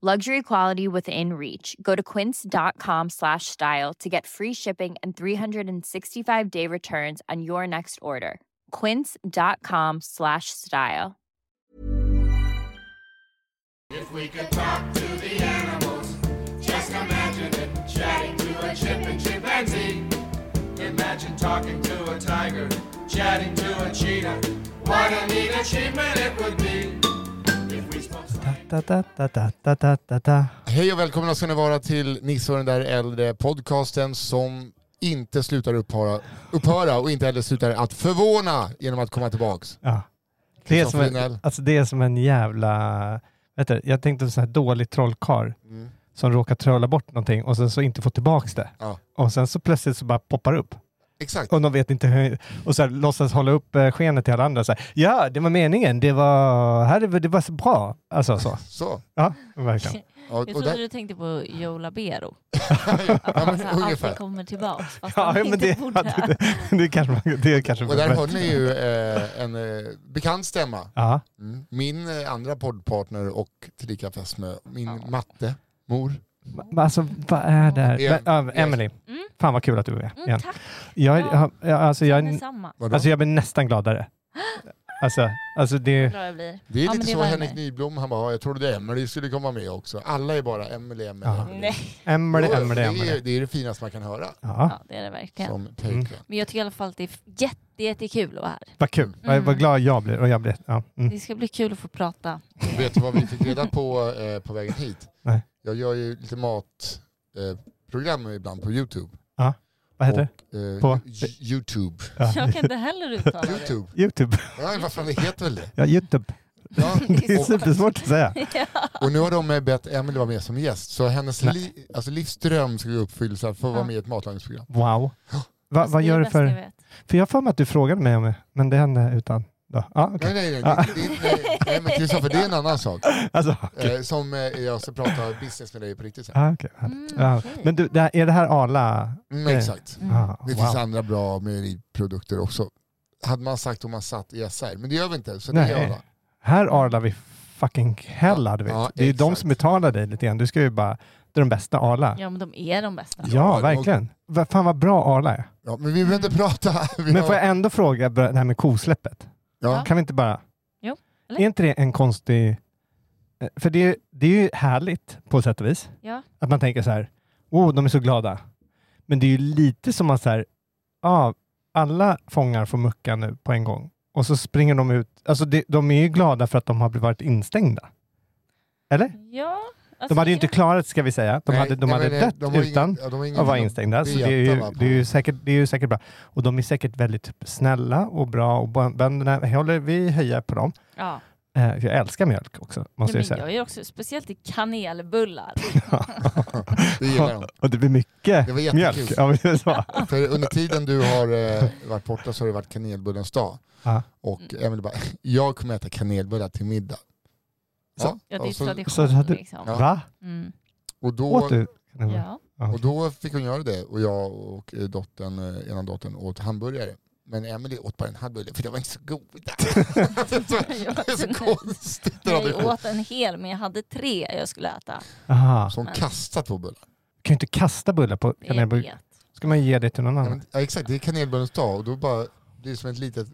Luxury quality within reach. Go to quince.com slash style to get free shipping and 365 day returns on your next order. Quince.com slash style. If we could talk to the animals, just imagine it. Chatting to a chip and chimpanzee. Imagine talking to a tiger, chatting to a cheetah. What a neat achievement it would be. If we spoke slang. Da, da, da, da, da, da, da, da. Hej och välkomna ska ni vara till Nisse och den där äldre podcasten som inte slutar upphöra, upphöra och inte heller slutar att förvåna genom att komma tillbaks. Ja. Det, är som Linnell. en, alltså det är som en jävla... Vet du, jag tänkte en sån här dålig trollkarl Mm. som råkar trolla bort någonting och sen så inte får tillbaks det. Ja. Och sen så plötsligt så bara poppar upp. Exakt. Och de vet inte hur... Och så här, låtsas hålla upp eh, skenet till alla andra. Så här, ja, det var meningen. Det var, här, är- det var så bra. Alltså så. Så. Ja, verkligen. Ja, Jag och trodde där, du tänkte på Joe Labero. ja, men, Alltså, alltid ungefär. kommer tillbaks fast Ja, han men inte det- borde. ja, Det kanske man... Det kanske Och där hörde ni ju eh, en eh, bekant stämma. Ja. Mm. Min eh, andra poddpartner och tillika fästmö, min matte, mor. Va- Alltså, vad är det här? Em- Men, ja, Emily, Mm. fan vad kul att du är med. Mm, igen. tack, Jag, Ja. jag, alltså, jag, detsamma. Vadå? alltså, jag blir nästan gladare. Alltså, alltså Vad det... Bra jag blir. det är Ja, lite men det så var Henrik Emily. Nyblom, han bara, jag trodde Emelie skulle komma med också. Alla är bara Emelie, Emelie, Ja. Emelie. Nej, Emily, Jo, Emily, Det, är, Emily. det är det finaste man kan höra Ja, ja, det är det verkligen. Mm. som pojkvän. Men jag tycker i alla fall att det är jätte, jättekul att vara här. vad kul. Vad, vad glad jag blir. Och jag blir ja. mm. Det ska bli kul att få prata. Vet du vad vi fick reda på eh, på vägen hit? Nej. Jag gör ju lite matprogram eh, program ibland på YouTube. Vad heter det? Och, eh, På? Ju- YouTube. Jag kan inte heller uttala det. YouTube. Youtube. Ja, vad fan det heter väl det? Ja, Youtube. Ja. Det är Och, supersvårt att säga. och nu har de eh, bett Emily vara med som gäst. Så hennes li, alltså livsdröm ska gå i uppfyllelse för att vara Ja. med i ett matlagningsprogram. Wow. Va, vad Det är gör du bäst jag för... vet. För jag har för mig att du frågade mig om det, men det hände utan... Då. Ja, okej. Nej, nej, nej. Ja. Det, det, är- nej, nej men Kristoffer, det är en annan sak. Alltså, okej. Eh, som eh, jag ska prata business med dig på riktigt sen. Ja, okej. Mm, Ja. okej. Men du, det här, är det här Arla? Mm, Eh, exakt. Mm. Ja, Det wow. finns andra bra mejeriprodukter också. Hade man sagt om man satt i SR, men det gör vi inte. Så Nej. det gör jag. Här arlar vi fucking hell Ja, hade vi. ja, det är ju de exakt. som betalar dig lite grann. Du ska ju bara, det är de bästa Arla. Ja, Ja, men de är de bästa. Ja, verkligen. Va, fan vad bra Arla är. Ja, men vi behöver inte prata. Vi Men har- får jag ändå fråga bra- det här med kosläppet? ja. Kan vi inte bara... Jo, eller? Är inte det en konstig... eh, För det, är- det är ju härligt på sätt och vis. Ja. Att man tänker så här, oh de är så glada. Men det är ju lite som att så här, ja, alla fångar får mucka nu på en gång. Och så springer de ut. Alltså det, de är ju glada för att de har blivit- varit instängda. Eller? Ja, alltså, De hade ju inte det- klarat sig, ska vi säga. De Nej, hade, de nej, hade men, eh, dött de har ingen- utan ja, de har ingen- att vara instängda. Så det jättar, är, ju, va, på- det, är ju säkert, det är ju säkert bra. Och de är säkert väldigt snälla och bra. Och bön- bönderna, håller, vi höjer på dem. Ja. Eh, för jag älskar mjölk också, Nej, måste men jag säga. jag är ju också, speciellt i kanelbullar. liksom. Det gillar de. Och det blir mycket Det var jättekul. mjölk. Ja, men det är så. För under tiden du har eh, varit borta så har det varit kanelbullens dag. Ja. Och Emil bara, jag kommer äta kanelbullar till middag. Ja, Ja, det är och, så, tradition alltså, så hade- liksom. Ja. Va? Mm. och, Åt då, du? Ja. och då fick hon göra det. Och jag och eh, dottern, eh, ena dottern åt hamburgare. Men Emily åt bara en hamburgare för de var inte så goda. det är så konstigt. Jag åt en hel men jag hade tre jag skulle äta. Aha. Som kastat på bullar. Du kan ju inte kasta bullar på Jag kanelbullar. vet. ska man ge det till någon Ja, annan. men, ja, exakt, det är kanelbullens dag och då bara, det är som ett litet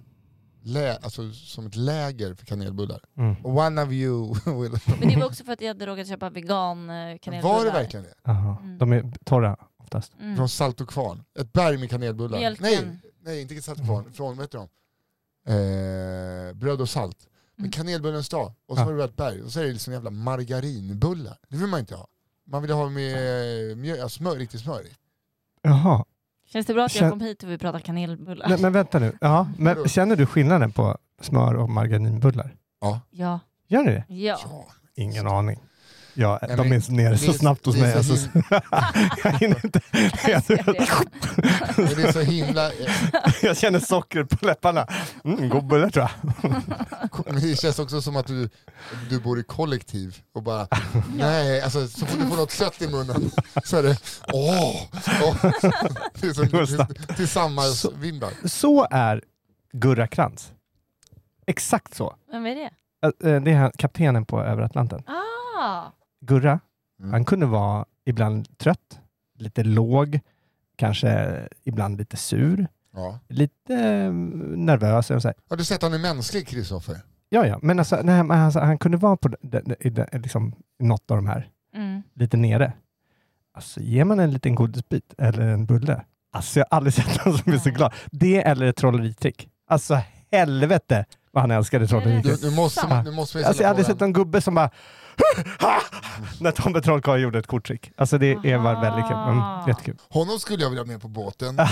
lä, alltså, som ett läger för kanelbullar. Mm. One of you will... Men det var också för att jag hade råkat köpa vegan eh, kanelbullar. Var det verkligen det? Aha. Mm. De är torra. oftast. Mm. Från Salt och Kvarn. Ett berg med kanelbullar. Mjölken. Nej, nej, inte Salt och Mm. Kvarn. Från, vad heter de? Eh, bröd och salt. Men Mm. kanelbullens dag. Och så Ja. var det bara ett berg. Och så är det liksom jävla margarinbullar. Det vill man inte ha. Man vill ha med eh, mjö, ja, smör, riktigt smör i. Jaha. Känns det bra att Kän- jag kom hit och vi pratar kanelbullar? Men, men vänta nu. Ja, men Vadå? känner du skillnaden på smör och margarinbullar? Ja. Ja. Gör ni det? Ja. Ja. Ingen aning. Ja, Nej, de men- är nere så det är- snabbt hos det är mig. så Alltså, jag hinner inte. Jag, Men Det är så himla... jag känner socker på läpparna. Mm, god bulle tror jag. Men det känns också som att du, du bor i kollektiv och bara, nej, alltså så fort du får något sött i munnen så är det, åh! åh. Det är Går som snabbt. tillsammans-vimlar. Så är Gurra Krantz. Exakt så. Vem är det? Äh, eh, Det är han- kaptenen på Över Atlanten. Ah! Gurra, Mm. han kunde vara ibland trött, lite låg, kanske ibland lite sur, Ja. lite eh, nervös. Och så här. Har du sett han är mänsklig, Kristoffer? Ja, ja, men alltså, nej, men alltså, han kunde vara på de- de- i de- liksom, i något av de här, Mm. lite nere. Alltså, ger man en liten godisbit eller en bulle, alltså, jag har aldrig sett någon som är så Nej. glad. Det eller ett trolleritrick. Alltså helvete vad han älskade Du, trolleritrick. nu måste man, nu måste vi Alltså, jag har ställa aldrig frågan. sett någon gubbe som bara när Tombe Trollkarl gjorde ett korttrick. Alltså det är var väldigt kul. Mm, Aha. jättekul. Honom skulle jag vilja ha med på båten. Ja,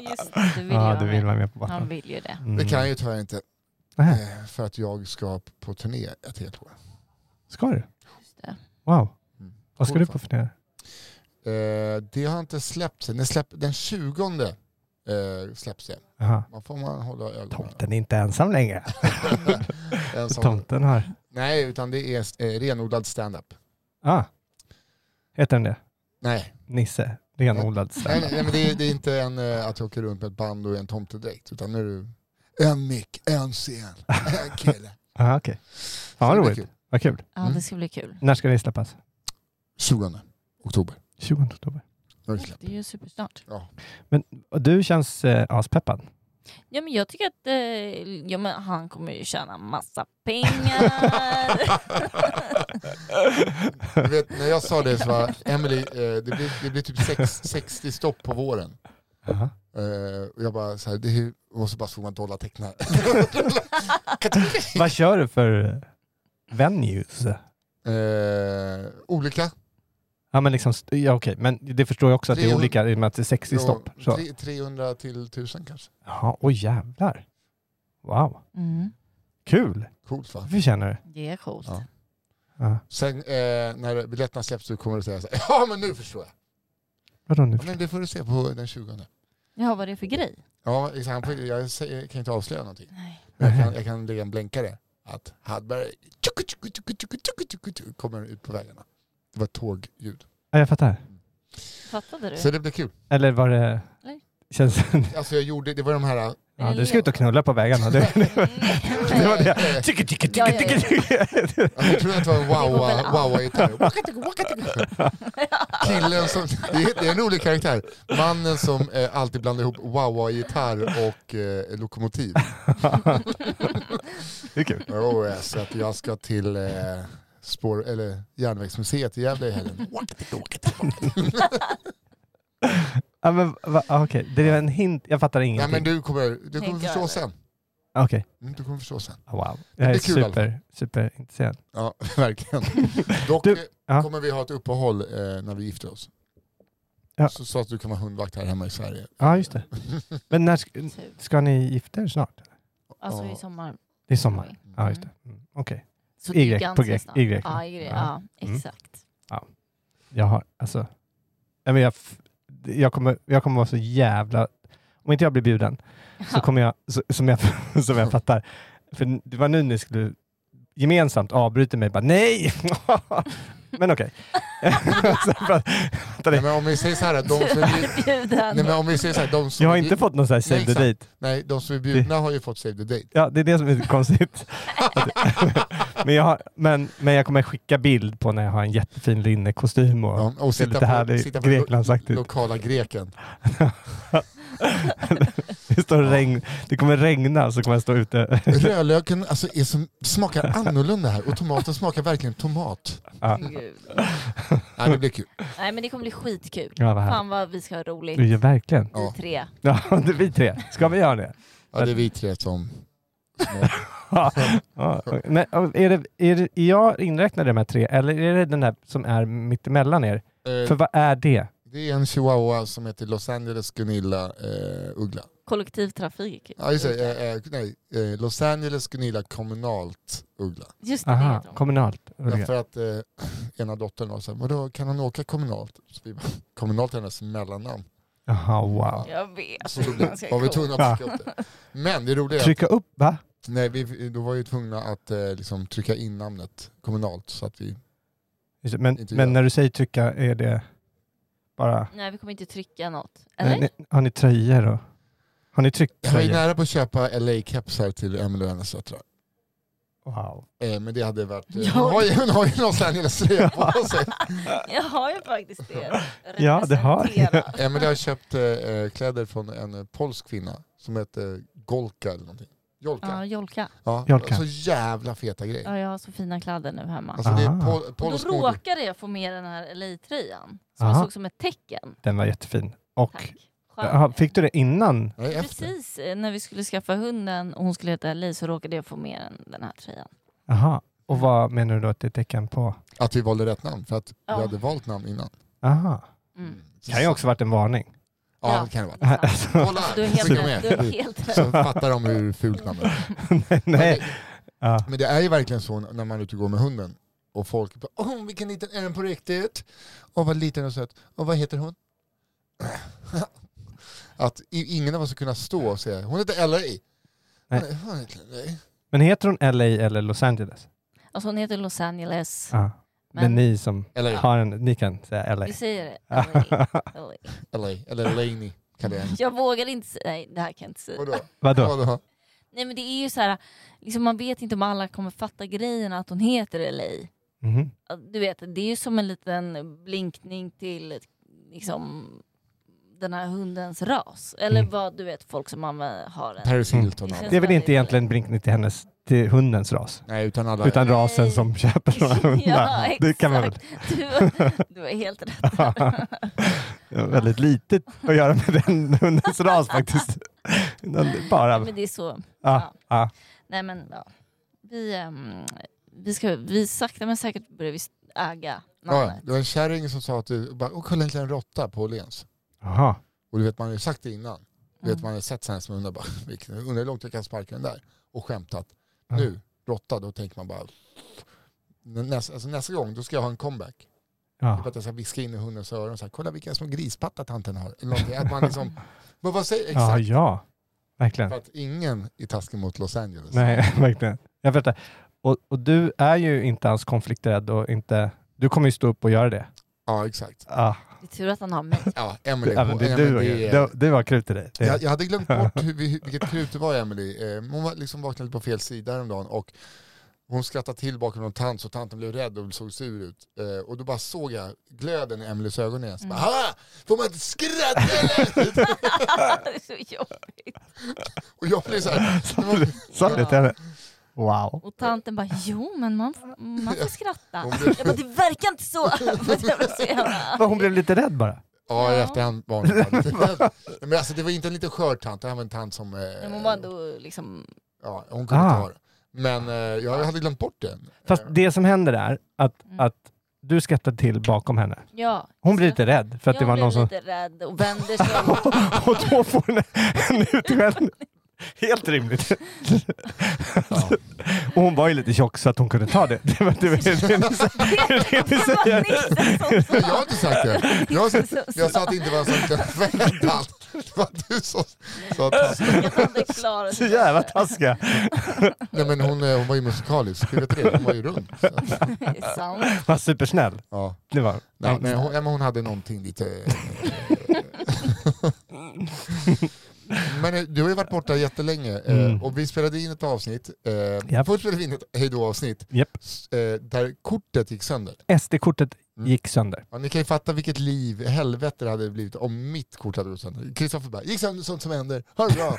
just det. Du vill ju Ja, vara du vill med. vara med på Han båten. vill ju det. Mm. Det kan jag ju tyvärr inte, Nähä, eh, för att jag ska på turné ett helt år. ska du? Just det. Wow. Mm. Vad ska Cool du fan. på för turné? Eh, det har inte släppts än. Den, släpp, den 20 eh, släpps det. Jaha. Man får man hålla ögonen Tomten är inte ensam längre. En sån- Tomten har... Nej, utan det är eh, renodlad stand-up. Ah. Heter den det? Nej, Nisse. Renodlad nej, standup. nej men det, är, det är inte en, eh, att jag åker runt med ett band och en tomtedräkt, utan nu är det en mick, en scen, en kille. Ah, okej. Fan vad Så det blir roligt. kul. Vad kul. Ja, Mm. det ska bli kul. När ska det släppas? 20 oktober. 20 oktober. Nu är det släppt. Det är ju supersnart. Och du känns eh, aspeppad. Ja, men jag tycker att eh, ja, men han kommer ju tjäna massa pengar. Du vet, när jag sa det så var Emily, eh, det blir, det blir typ sex, 60 stopp på våren. Jaha. Eh, och jag bara så här, det är, ju- och så bara såg man dollartecknare. Vad kör du för venues? eh, olika. Ja, men liksom, st- ja, okej. Men det förstår jag också att det är 300 olika i och med att det är 60 stopp. Så. Tre- 300 till 1000 kanske. Jaha, oj jävlar. Wow, Mm. kul. Coolt va? Vi känner det. Det är coolt. Ja. Ja. Sen eh, när biljetterna släpps så kommer du säga så här, ja men nu förstår jag. Vadå nu? Ja, men det får du se på den 20. Ja, vad är det för grej? Ja, exakt. Han får- jag säger- kan inte avslöja någonting. Nej. Men Jag kan, jag kan lägga en blänkare. Att Hallberg tjuku, tjuku, tjuku, tjuku, tjuku, tjuku, tjuku, kommer ut på vägarna. Det var tågljud. Ja, jag fattar. Fattade du? Så det blev kul. Eller var det... Nej. Känns... Alltså jag gjorde, det var de här... alltså, Ja, du ska ut och knulla på vägarna. Det, Mm. det var det. Eh, Tycke, tycke, Ja, tycke, ja, ja. tycke, tycke. Jag trodde att det var en Det går väl wow- an. wow-gitarr. Waka, tycka, waka, tycka. Killen som, det är, det är en rolig karaktär. Mannen som eh, alltid blandar ihop wow-gitarr och eh, lokomotiv. Det är kul. Oh, eh, så att jag ska till eh, spår, eller järnvägsmuseet i Gävle i helgen. Waka, tycka, waka, tycka, waka, tycka. Ja, men, va, ja, okej. Det är en hint. Jag fattar Nej ingenting. men du kommer, du kommer Tänk förstå över. sen. Okej. Mm, Du kommer förstå sen. Ja, Wow. Jag är blir kul i alla super, superintresserad. Ja, verkligen. Dock Du, eh, ja. kommer vi ha ett uppehåll eh, när vi gifter oss. Ja. Så, så att du kan vara hundvakt här hemma i Sverige. Ja, just det. Men när ska, Typ. ska ni gifta er snart? Alltså Ja. i sommar. Det är sommar. Ja, just det. Mm. Okej. Så Y, det är ganska på grek- snart. Y, ja. Ja, y, Ja. Mm. ja, exakt. Jag har, alltså. Nej, men jag, f- jag, kommer, jag kommer vara så jävla... Om inte jag blir bjuden så kommer jag, så, som, jag som jag fattar. För det var nu ni skulle gemensamt avbryta mig bara nej! men okej. Så för att- vänta, Nej, det- men om vi säger så här, att de som är, Tyvärr bjuden. nej, men om vi säger så här, de som jag har är- inte fått någon sån här save Nej, the exakt. date. nej, de som är bjudna har ju fått save the date. Ja, det är det som är konstigt. men, jag har, men, men jag kommer skicka bild på när jag har en jättefin linnekostym och Ja, och ser sitta lite typ. på, härlig sitta på lo, Greklandsaktig ut. lokala greken. Det, står regn, det kommer regna så kommer jag stå ute. Rödlöken alltså, är som, smakar annorlunda här och tomaten smakar verkligen tomat. Gud. Nej, det blir kul. Nej men det kommer bli skitkul. Ja, vad härligt. Fan vad vi ska ha roligt. Du gör verkligen. Ja. Vi tre. Ja, det är vi tre. Ska vi göra det? Ja, det är vi tre som... Ja. Ja. Men är, det, är, det, är jag inräknad i de här tre eller är det den där som är mittemellan er? För Eh, vad är det? det är en chihuahua som heter Los Angeles Gunilla eh, Uggla. Kollektivtrafik. Ja, just det, eh, eh, nej, eh, Los Angeles Gunilla Kommunalt Uggla. Just det, det Aha, heter de. kommunalt. Ulrika. Därför att eh, ena dottern var såhär, vadå kan han åka kommunalt? Så vi, bara, kommunalt är hennes mellannamn. Jaha, wow. Jag vet. Så då blev- Ganska var vi coolt. tvungna att trycka upp det. Men det roliga är att, Trycka upp va? nej, vi, då var vi tvungna att eh, liksom, trycka in namnet kommunalt så att vi Just det, Men, Inte jag. men när du säger trycka, är det bara... Nej vi kommer inte trycka något. Nej, Eller? ni- Har ni tröjor då? Har ni tryckt Jag var ju tröjor? nära på att köpa LA-kepsar till Emelie och hennes döttrar. Wow. Eh, men det hade varit... Ja. Eh, hon, har ju, hon har ju Los Angeles-tröja på sig. Jag har ju faktiskt det. Ja, det har ni. Representera. Emelie har köpt eh, kläder från en eh, polsk kvinna som heter Golka eller någonting. Jolka. Ja, Jolka. ja. Jolka. Så jävla feta grejer. Ja, jag har så fina kläder nu hemma. Alltså det är Ah. pol- Och då polsk mode. råkade jag få med den här LA-tröjan. Som jag Aha. såg som ett tecken. Den var jättefin. Och, Tack. Jaha, Skön. fick du det innan? Nej, efter. Precis eh, när vi skulle skaffa hunden och hon skulle heta LA så råkade jag få med den, den här tröjan. Jaha. Och vad menar du då att det är tecken på? Att vi valde rätt namn för att Ja. vi hade valt namn innan. Aha. Mm. Kan ju också varit en varning. Ja, det kan det vara. Alltså, Kolla! Du har helt Skicka rätt. Du har med. helt rätt. Så fattar de hur fult namnet är. nej. Ja. Men det är ju verkligen så när man är ute och går med hunden och folk bara åh vilken liten är den på riktigt? Och vad liten och söt. Och vad heter hon? Att i- ingen av oss skulle kunna stå och säga hon heter LA. Hon är- hon heter LA. Men heter hon LA eller Los Angeles? Alltså hon heter Los Angeles. Ja. Men, Men ni som LA. har en, ni kan säga LA. vi säger det. LA. LA. LA. Eller Laney kallar jag henne. Jag vågar inte säga, nej det här kan jag inte säga. Vadå? Vadå? Vadå? Nej men det är ju så här, liksom man vet inte om alla kommer fatta grejen att hon heter LA. Mhm. Du vet, det är ju som en liten blinkning till liksom den här hundens ras. Eller Mm. vad du vet, folk som använder- har en... Paris Hilton. Mm. Det är väl inte egentligen blinkning till hennes, till hundens ras? Nej, utan alla. Utan Nej. rasen som köper de här hundarna. Ja, det kan man väl. exakt. Du, du är helt rätt. Det har väldigt litet att göra med den hundens ras faktiskt. Den Bara, Men det är så. ja, ja. Nej men ja. Vi, ehm, vi, ska, vi sakta men säkert börjar vi äga Ja, ja. namnet. det var en kärring som sa att du bara, åh kolla en liten råtta på Åhléns. Aha. Och du vet, man har ju sagt det innan. Du vet, Mm. man har sett sådana här som undrar, bara, vilken- undrar hur långt jag kan sparka den där. Och skämtat. Ja. Nu, råtta, då tänker man bara... Nästa, alltså nästa gång, då ska jag ha en comeback. Typ Ja. att jag ska viska in i hundens öron, så här, kolla vilka små grispattar tanten har. Eller någonting. Att man liksom, men vad säger Ja, exakt? ja, verkligen. För att ingen är taskig mot Los Angeles. Nej, verkligen. Jag fattar. Och, och du är ju inte alls konflikträdd och inte... Du kommer ju stå upp och göra det. Ja, exakt. Ah, Det är tur att han har mig. Ja, det, Emily. även hon- det, Emily, du, det är- du, du har krut i dig. Det, Jag, jag hade glömt bort hur, vi- vilket krut det var Emily. Eh, Hon var liksom vaknade på fel sida häromdagen och hon skrattade till bakom någon tant så tanten blev rädd och såg sur ut. Eh, Och då bara såg jag glöden i Emelies ögon igen. Så bara, "Ha! Får man inte skratta eller? det är så jobbigt. och jag blev så här, Sa du- Sa du det till henne? Wow. Och tanten bara, jo men man, f- man får skratta. Hon blev- Jag bara, det verkar inte så. För att jag blev så jävla- Men Hon blev lite rädd bara. ja i efterhand var hon bara lite- Men alltså det var inte en liten skör tant, det här var en tant som... eh, Men Hon var ändå liksom, Ja, hon kunde Ah. ta det. Men eh, jag hade glömt bort det. Fast det som händer är att, Mm. att du skrattade till bakom henne. ja. Hon blir lite rädd för att jag det var blev någon som... lite rädd och vänder sig om. Och då får hon en utskällning. Helt rimligt. Ja. Och hon var ju lite tjock så att hon kunde ta det. Det var det, var- det, ni sa- det, ni Det var säger. Nisse som Jag har inte sagt det. Jag, jag sa att det inte var så förväntat. Det var du som sa att sa klara Så jävla taskiga. Nej men hon, eh, hon var ju musikalisk, du vet det, hon var ju rund. Så, Det är sant. Hon var supersnäll. ja. Det var. Nej, men hon, ja, men hon hade någonting lite... eh, Men eh, du har ju varit borta jättelänge eh, Mm. och vi spelade in ett avsnitt. Eh, Japp. Först spelade vi in ett hejdå-avsnitt Japp. s- eh, där kortet gick sönder. SD-kortet Mm. gick sönder. Ja, ni kan ju fatta vilket liv, helvete det hade blivit om mitt kort hade gått sönder. Kristoffer bara, gick sönder sånt som händer, ha det bra,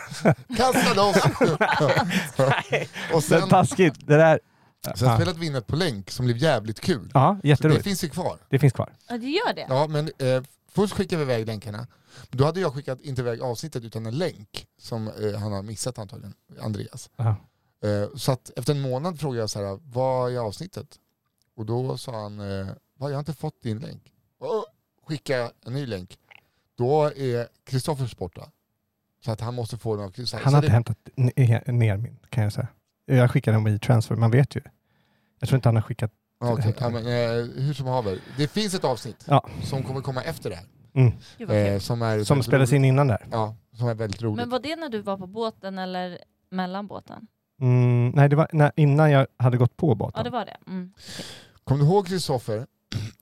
kasta loss. och Det är sen, taskigt. Det där... sen Ja. spelade vi in ett på länk som blev jävligt kul. Ja, Så det jätteroligt. finns ju kvar. Det finns kvar. Ja, du gör det? Ja, men eh, först skickade vi iväg länkarna. Då hade jag skickat, inte iväg avsnittet, utan en länk som eh, han har missat antagligen, Andreas. Ja. Eh, så att efter en månad frågade jag så här, vad är avsnittet? Och då sa han, eh, "Va, jag har inte fått din länk. Och skicka en ny länk. Då är Kristoffers borta. Så att han måste få den av Kristoffer. Han så har inte det, hämtat ne- ner min, kan jag säga. Jag skickade den i transfer, man vet ju. Jag tror inte han har skickat... Ja, okej. ja, men, eh, hur som haver, det finns ett avsnitt Ja. som kommer komma efter det här. Mm. Gud, vad kul. eh, som är Som väldigt spelades roligt. in innan där. Ja, som är väldigt roligt. Men var det när du var på båten eller mellan båten? Mm, nej, det var när, innan jag hade gått på Ja, båten. det var det. Mm. Kommer du ihåg Kristoffer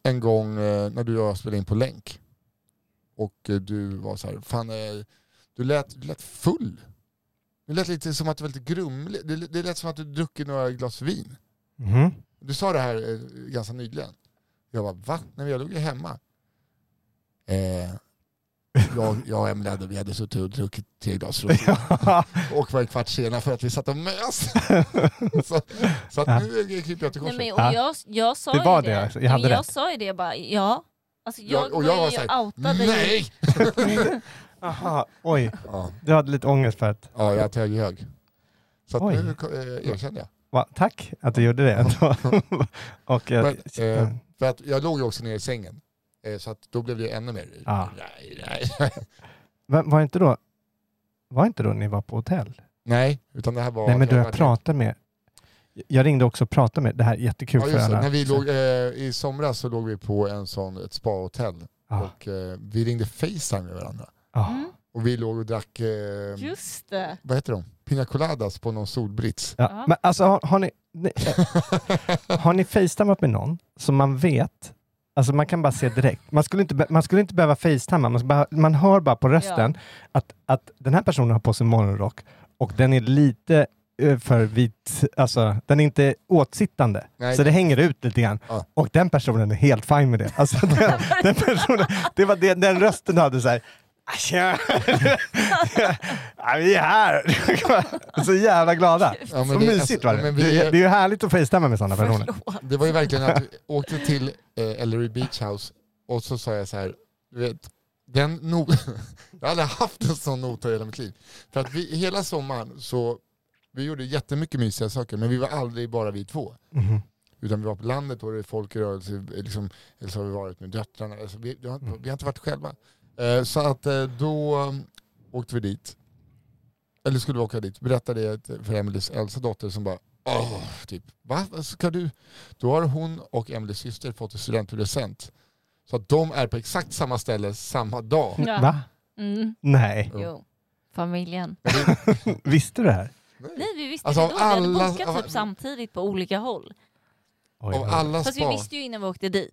en gång eh, när du och jag spelade in på länk? Och eh, du var så här, fan eh, du lät, du lät full. Du lät lite som att du var lite grumlig. Det, det lät som att du druckit några glas vin. Mhm. Du sa det här eh, ganska nyligen. Jag bara, va? Nej men jag låg ju hemma. Eh, jag, jag och Emelie hade, vi hade suttit och druckit tre glas rosé och var en kvart sena för att vi satt och mös. så, så att nu kryper jag till Nej, korset. men, Ja. och jag, jag sa Det var ju det, det. alltså. Jag hade men jag rätt. sa ju det bara, ja. Alltså, jag, Jag- och går jag ju var och så outade ju. Nej! Aha, oj. Ja. Du hade lite ångest för att... Ja, jag hög hög. Så att Oj. nu eh, erkände jag. Va, tack att du gjorde det ändå. Och, eh, Men, eh, för att jag låg ju också ner i sängen. Eh, Så att då blev det ännu mer. Ja. Nej, nej. var, var inte då... Var inte då ni var på hotell? nej, utan det här var... nej, men du, det jag var- pratade med... Jag ringde också och pratade med... Det här är jättekul Ja, för just det. alla. När vi låg, eh, I somras så låg vi på en sån, ett spahotell Ja, och eh, vi ringde Facetime med varandra. ja. Mm. Och vi låg och drack, eh, Just det. vad heter de? Pina coladas på någon solbrits. Ja. Ja. Men alltså, har, har ni... ni Har ni facetimat med någon som man vet, alltså man kan bara se direkt. Man skulle inte, be- man skulle inte behöva facetima, man, ska bara, man hör bara på rösten att, att den här personen har på sig morgonrock och den är lite eh, för vit, alltså den är inte åtsittande. Nej. Så det hänger ut lite grann. Ja. Och den personen är helt fin med det. Alltså, den, den, personen, det var det, den rösten hade så här. "Ah, Tja! Ja, vi är här! Så jävla glada. Ja, men Så det- mysigt var alltså, det. men vi- Det är- Det är ju härligt att facetima med sådana personer. Förlåt. Det var ju verkligen att vi åkte till eh, Ellery Beach House och så sa jag så här, du vet, den no- jag har aldrig haft en sån nota i hela mitt liv. För att vi, hela sommaren så, vi gjorde jättemycket mysiga saker men vi var aldrig bara vi två. Mhm. Utan vi var på landet och det var folk i rörelse, liksom, eller så har vi varit med döttrarna. Alltså, vi, vi, har inte, vi har inte varit själva. Eh, så att eh, då eh, åkte vi dit. Eller skulle vi åka dit. Berättade det för Emelies äldsta dotter som bara Åh, typ, va? Vad Ska du? Då har hon och Emelies syster fått en studentpresent. Så att de är på exakt samma ställe samma dag. Ja. Va? Mm. Nej. Ja. Jo. Familjen. Visste du det här? Nej vi visste Alltså, det då. Vi alla- hade bokat av- typ samtidigt på olika håll. Oj, Av alla Fast vi spa. visste ju innan vi åkte dit.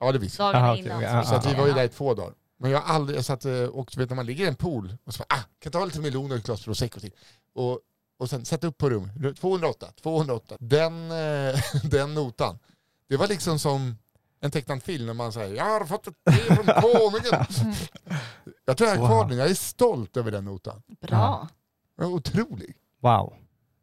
Ja, det visste vi. Dagarna Aha, okej, innan. okej. Ja, Så att vi ja, var ju där i två dagar. Men jag har aldrig, jag satt eh, och du vet när man ligger i en pool och så bara, ah, kan jag ta lite melon och ett glas prosecco till. Och, och sen sätta upp på rum, 208, 208. Den, eh, den notan. Det var liksom som en tecknad film när man säger, jag har fått ett brev från konungen. Mm. jag tror jag har kvar Wow. den, jag är stolt över den notan. Bra. Den var Otrolig. Wow.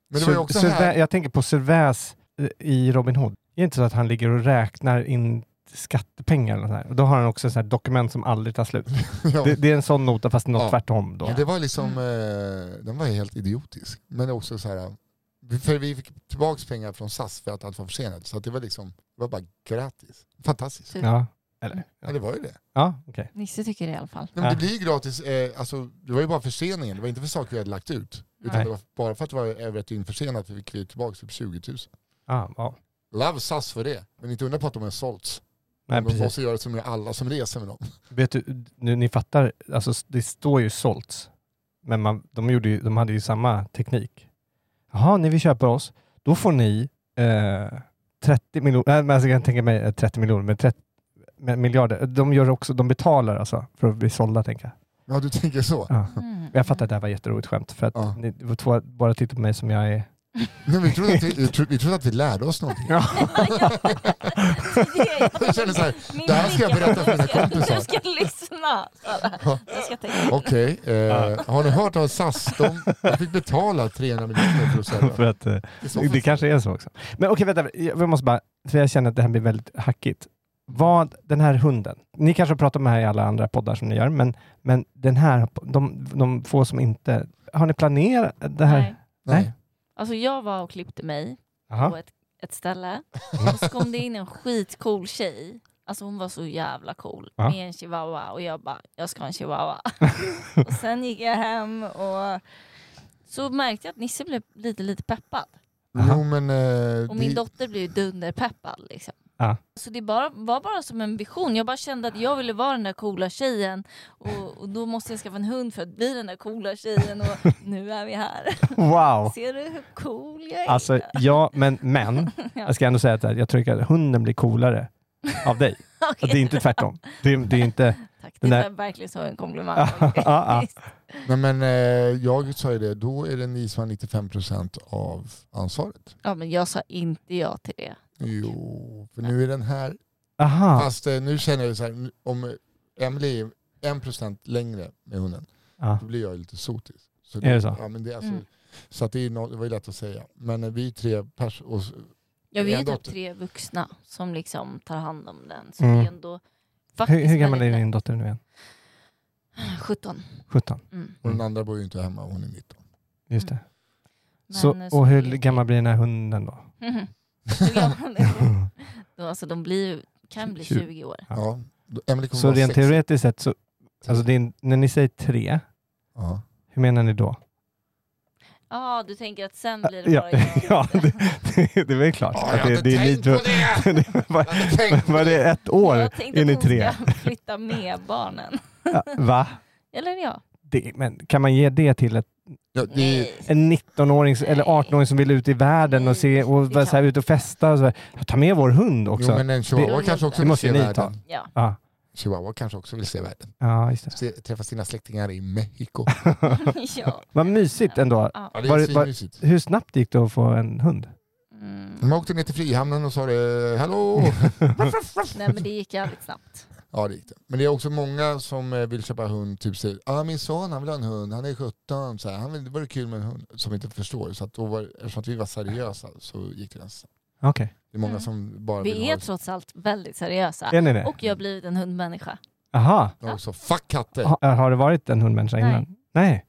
Men det var ju Sur- också Survä- här, Jag tänker på Servais i Robin Hood. Det är inte så att han ligger och räknar in skattepengar eller något sånt här. Och Då har han också ett sånt här dokument som aldrig tar slut. ja, Det, det är en sån nota fast något Ja. tvärtom då. Men det var liksom, eh, den var ju helt idiotisk. Men också så här, för vi fick tillbaka pengar från SAS för att allt var försenat. Så att det var liksom, det var bara gratis. Fantastiskt. Ja. Eller? Ja, det var ju det. Ja, okej. Nisse tycker det i alla fall. Nej, men det blir ju gratis, eh, alltså, det var ju bara förseningen, det var inte för saker vi hade lagt ut. Utan Nej. det var bara för att det var eh, över ett dygn försenat fick vi tillbaka typ 20 000. Ja, Ah, wow. Love SAS för det, men inte undra på att de har sålts. Nej, de precis. måste göra som med alla som reser med dem. Vet du, nu, ni fattar, alltså, s- det står ju sålts. Men man, de, gjorde ju, de hade ju samma teknik. Jaha, ni vill köpa oss. Då får ni eh, 30 miljoner, nej men alltså, jag kan tänka mig eh, 30 miljoner, men 30 men miljarder. De gör också, de betalar alltså för att bli sålda tänker jag. Ja, du tänker så. Ja. Mm. Jag fattar att det här var ett jätteroligt skämt, för att Ja. ni det var två bara tittar på mig som jag är... Nej, vi, trodde att vi, vi trodde- vi trodde att vi lärde oss någonting. Jag känner så här, Min det här ska jag blick, berätta för mina du ska- kompisar. Du ska lyssna. Ja. Sara. Du ska tänka. Okej, eh, har ni hört av SAS? De, de fick betala 300 miljoner för att för sälja. att, eh, Det är så det fast- kanske är så också. Men okej, vänta. Jag måste bara... För jag känner att det här blir väldigt hackigt. Vad, den här hunden. Ni kanske har pratat om det här i alla andra poddar som ni gör, men, men den här, de, de få som inte... Har ni planerat det här? Nej. Nej. Alltså jag var och klippte mig på Jaha. ett, ett ställe och så kom det in en skitcool tjej. Alltså hon var så jävla cool Ja. med en chihuahua och jag bara, jag ska ha en chihuahua. och sen gick jag hem och så märkte jag att Nisse blev lite, lite peppad. Jo, men, eh, Och min det- dotter blev ju dunderpeppad liksom. Ja. Så det bara, var bara som en vision. Jag bara kände att jag ville vara den där coola tjejen och, och då måste jag skaffa en hund för att bli den där coola tjejen och nu är vi här. Wow! Ser du hur cool jag är? Alltså, ja, men, men jag ska ändå säga att jag tycker att hunden blir coolare av dig. Okej. Att Det är inte tvärtom. Det är, det är inte... Tack, det Den där- var verkligen så en komplimang. Ja, ja. Nej, men eh, jag sa ju det, då är det ni som har 95% av ansvaret. ja, men jag sa inte ja till det. Jo, för nu är den här. Aha. Fast eh, nu känner jag så här, nu- om Emily är 1% längre med hunden, Ja. då blir jag lite sotis. Så Är det så? Ja, men det, är alltså, Mm. så att det, är no, det var ju lätt att säga. Men eh, vi är tre personer, och s- Jag En vet typ dotter. tre vuxna som liksom tar hand om den. Så Mm. det är ändå faktiskt Hur, hur gammal är väldigt din dotter nu igen? lätt. 17. 17? Mm. och den andra bor ju inte hemma, hon är 19. Just det. Men, eh, Så, och hur det är- gammal blir den här hunden då? Mhm. Hur gammal är hon? Då, Alltså de blir, ju- kan bli Tjugo. 20 år. Ja. Ja. då- Emily kommer Så vara rent sex. teoretiskt sett, så, alltså det är, när ni säger tre, Ja. hur menar ni då? Ja, du tänker att sen blir det Ja, bara ja jag. det, det, det är väl klart. Ja, att jag hade det är tänkt lite- på det! Vad- Jag hade tänkt på Vad är det, ett år Jag tänkte in i att hon tre? ska flytta med barnen. Ja, Va? Eller ja. Det, men kan man ge det till ett, Ja, det är, en 19-åring eller 18-åring som vill ut i världen och, se, och Det vara kan- så här, ute och festa? Och så här, ta med vår hund jo, också. men en chihuahua Det- kanske också det vill måste se ni ta. världen. ja. Ja, Chihuahua kanske också vill se världen. ja, just det. Se, träffa sina släktingar i Mexiko. ja. Vad mysigt ändå. ja. Ja, det Var är det- var- svinmysigt. Hur snabbt gick det att få en hund? Mm. De åkte ner till Frihamnen och sa det, hallå! Nej men det gick jävligt snabbt. ja, det gick det. Men det är också många som eh, vill köpa hund, typ säger, ah, min son han vill ha en hund, han är 17, så här, han vill, det vore kul med en hund, som inte förstår. Så att då var, eftersom att vi var seriösa så gick det ganska snabbt. Okej, Det är många Mm. som bara vill Vi är ha trots allt väldigt seriösa. är ni det? Och jag har blivit en hundmänniska. Aha. De också, fuck katter! Ha, har det varit en hundmänniska Nej. innan? Nej.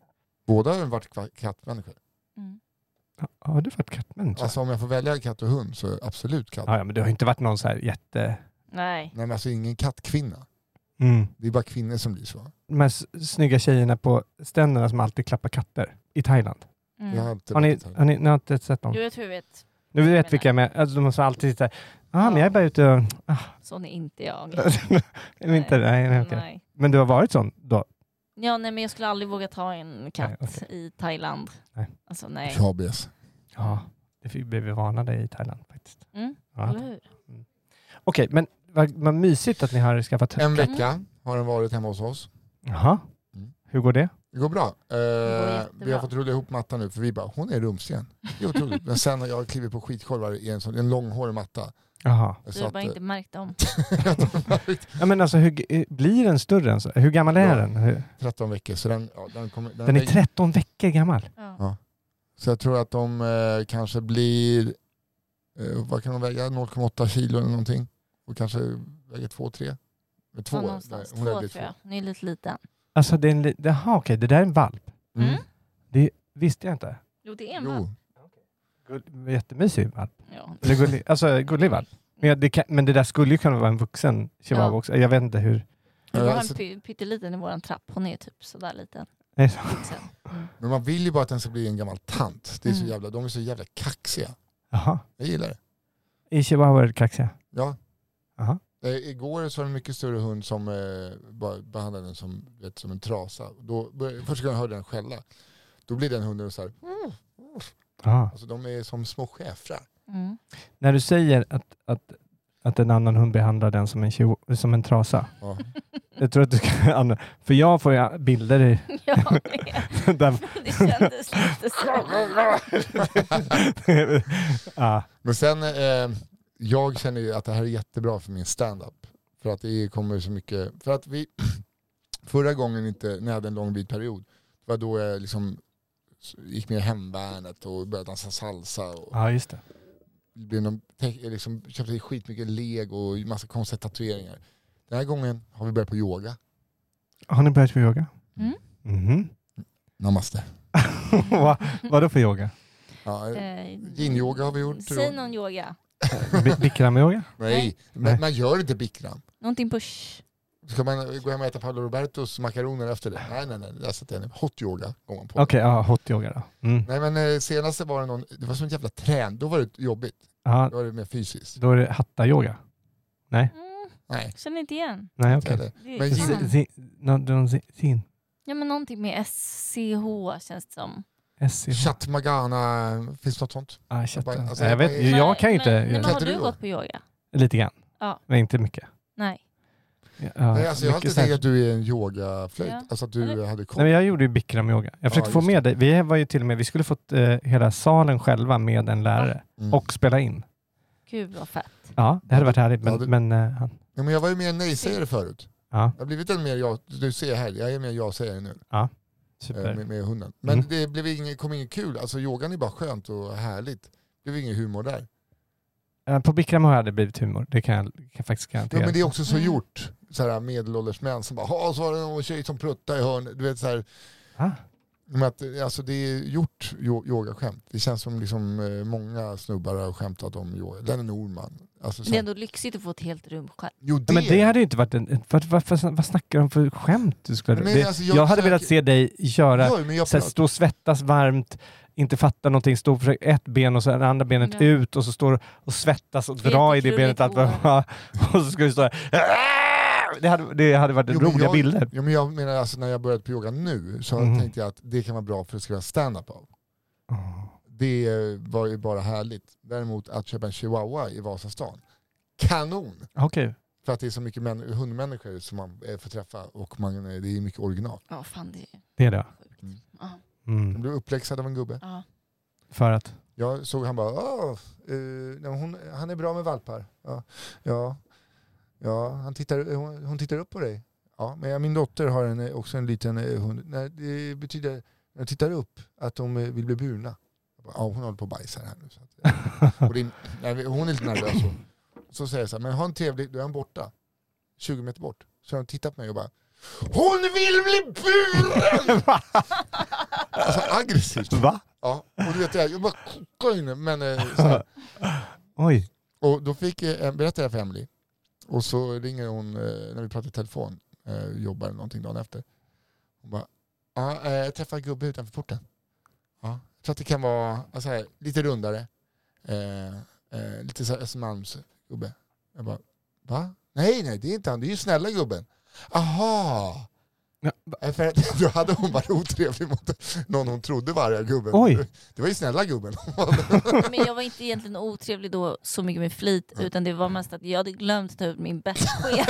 Båda har varit kva- kattmänniskor. Mm. Ha- Har du varit kattmänniska? Alltså om jag får välja katt och hund så absolut katt. ja, ja, men du har inte varit någon så här jätte... Nej. Nej men alltså ingen kattkvinna. Mm. Det är bara kvinnor som blir så. De här s- snygga tjejerna på stränderna som alltid klappar katter i Thailand. Mm. Jag har inte Har ni, varit så här. har ni, ni har inte sett dem? Jo, jag tror jag vet. Nu jag vet menar. vilka jag menar. Alltså, de som alltid sitter ah, men Ja. jag är bara ute och... Ah. Sån är inte jag. nej. Inte, nej, nej, okej. Nej. Men du har varit sån då? Ja, nej, men jag skulle aldrig våga ta en katt Nej, okej. i Thailand. Nej. Alltså nej. Rabies. Ja, det fick, blev vi varnade i Thailand faktiskt. Mm, Ja. eller hur? Okej, men vad, vad mysigt att ni har skaffat En katt. vecka har den varit hemma hos oss. Jaha. Mm. Hur går det? Det går bra. Eh, vi har jättebra. fått rulla ihop mattan nu för vi bara, hon är rumsren. Det är otroligt. Men sen har jag klivit på skitkorvar i en, sån, en långhårig matta. eh, Jaha. Du har bara inte märkt dem. Ja, men alltså, hur, g- blir den större än så? Hur gammal är Ja. den? Hur, 13 veckor, så den, ja, den, kommer, den, den är väger- 13 veckor gammal. Ja. Så jag tror att de eh, kanske blir, eh, vad kan de väga, 0,8 kilo eller någonting. Och kanske väger 2-3. Eh, Två, Ja, Nej, någonstans. hon Två väger tror jag. Hon är lite liten. Alltså, det är en, li- det, aha, okej, det där är en valp. Mm. Mm. Visste jag inte. Jo, det är en valp. Jo, Gull, jättemysig valp. Ja. Eller gullig, alltså, gullig valp. Men, jag, det kan, men det där skulle ju kunna vara en vuxen chihuahua Ja. också. Jag vet inte hur. Det var Eh, en så- py- pytteliten i våran trapp. Hon är typ sådär liten. Typ Nej, så- Vuxen. men man vill ju bara att den ska bli en gammal tant. Det är så Mm. jävla, de är så jävla kaxiga. Jaha. Jag gillar det. Är chihuahuor kaxiga? Ja. Jaha. Eh, igår så var det en mycket större hund som eh, bara behandlade den som, vet, som en trasa. Då, började- första gången jag hörde den skälla, då blir den hunden så här, Mm. Jaha. alltså de är som små schäfrar. Mm. När du säger att, att Att en annan hund behandlar den som en, chihu- som en trasa. Ja. Jag tror att du ska använda, För jag får ju bilder i, Jag med. där, Det kändes lite så. ja, Men sen, eh, jag känner ju att det här är jättebra för min stand-up. För att det kommer så mycket, för att vi, förra gången inte, när jag hade en lång vit period, det var då jag liksom gick med i hemvärnet och började dansa salsa och ja, just det. blev någon, te- liksom, köpte skitmycket lego och massa konstiga tatueringar. Den här gången har vi börjat på yoga. Har ni börjat med yoga? Mm. Mhm. Namaste. Va, vad då för yoga? Ja, eh, Eh, Yin-yoga har vi gjort. Säg någon yoga. Bi- Bikram-yoga? Nej, Nej. men man gör inte bikram. Någonting på sh. Ska man gå hem och äta Paolo Robertos makaroner efter det? Nej, nej, nej. Där satte jag ner. Hot yoga går man på. Okej, ja, hot-yoga då. Mm. Nej men eh, senaste var det någon, det var som ett jävla trän, då var det jobbigt. Ja, Då var det mer fysiskt. då är det hatta-yoga? Mm, Nej. känner inte igen. Nej, inte okej. heller. Det Men är yin- fan. Si- no- don't si- Sin? Ja men någonting med SCH känns det som. SCH? Chatmagana, finns det något sånt? Ah, chatta. Bara- alltså, Nej, jag, vet, jag- jag kan ju inte... Men, men göra har Kan inte du du? gått på yoga? Lite grann. Ja. Men inte mycket. Nej. Ja, Nej, alltså, jag har mycket alltid så här- tänkt att du är en yogaflöjt, Ja. alltså att du Eller- hade Nej, koll. men jag gjorde ju bikramyoga. Jag försökte Ja, få just med dig. Vi var ju till och med, vi skulle fått eh, hela salen själva med en lärare Mm. och spela in. Gud vad fett. Ja, det hade varit härligt. Men, Ja, det- men eh, han, Ja, men jag var ju mer en nej-sägare förut. ja, Jag har blivit en mer ja, du ser här, jag är mer ja-sägare nu eh, super. med, med hunden. Men Typ Mm. det blev inget, kom inget kul, alltså yogan är bara skönt och härligt. Det blev ingen humor där. Eh, På bikram har det blivit humor. Det kan jag, kan jag faktiskt Ja, garantera. men det är också så Mm. gjort, så här medelålders män som bara, "Ja, så var det någon tjej som pruttade i hörnet. Du vet så här, Ah, Men att, alltså det är gjort yo- yogaskämt. Det känns som liksom eh, många snubbar har skämtat om yoga. Den är Norman. Alltså, så- Det är ändå lyxigt att få ett helt rum själv. jo, det, ja, men det hade ju inte varit en... Vad, vad, vad, vad snackar de för skämt du skulle... Men det, alltså, jag, jag hade försöker- velat se dig göra... Ja, men jag Så här, pratar- stå och svettas varmt, inte fatta någonting, stå och försöka ett ben och så det andra benet Ja. ut och så står du och svettas och Det är dra i det jättekrulligt benet. Allt vad, hår. och så ska du stå här. Det hade, det hade varit Jo, men roliga jag- bilder. Ja, men jag menar alltså när jag började på yoga nu så Mhm. tänkte jag att det kan vara bra för att skriva stand-up av. Det eh, var ju bara härligt. Däremot att köpa en chihuahua i Vasastan, kanon! Okej. För att det är så mycket män, hundmänniskor som man eh, får träffa och man, eh, det är mycket original. Ja fan det är Det är det. sjukt. Mm. Ja. Jag Mm. blev uppläxad av en gubbe. ja. För att? Jag såg han bara, "Åh, eh, nej, hon, han är bra med valpar. Ja, ja, ja han tittar, hon, hon tittar upp på dig. Ja, men jag- min dotter har en, eh, också en liten eh, hund. Nej, det betyder, när jag tittar upp, att de eh, vill bli burna. Jag bara, Ja, hon håller på och bajsar här nu. Så att, eh." och det, är- nej, hon är lite nervös. Och, så säger jag så här, men ha en trevlig, då är han borta. 20 meter bort. Så har hon tittat på mig och bara, hon vill bli buren! alltså aggressivt. Va? Ja, och du vet, jag jag bara kokade in men eh, så här. Oj. Och då fick eh, jag berätta det här för Emily. Och så ringer hon eh, när vi pratar i telefon, eh, jobbar eller någonting dagen efter. Hon bara, ja, eh, jag träffade en gubbe utanför porten. Ja, jag tror att det kan vara ja, så här, lite rundare. Eh, eh, lite så här Östermalmsgubbe. Jag bara, va? Nej, nej, det är inte han. Det är ju snälla gubben. Aha! Ja, Eh, För att, då hade hon varit otrevlig mot någon hon trodde var arga gubben. Oj. Det var ju snälla gubben. Men jag var inte egentligen otrevlig då så mycket med flit utan det var mest att jag hade glömt ta ut min bästskena.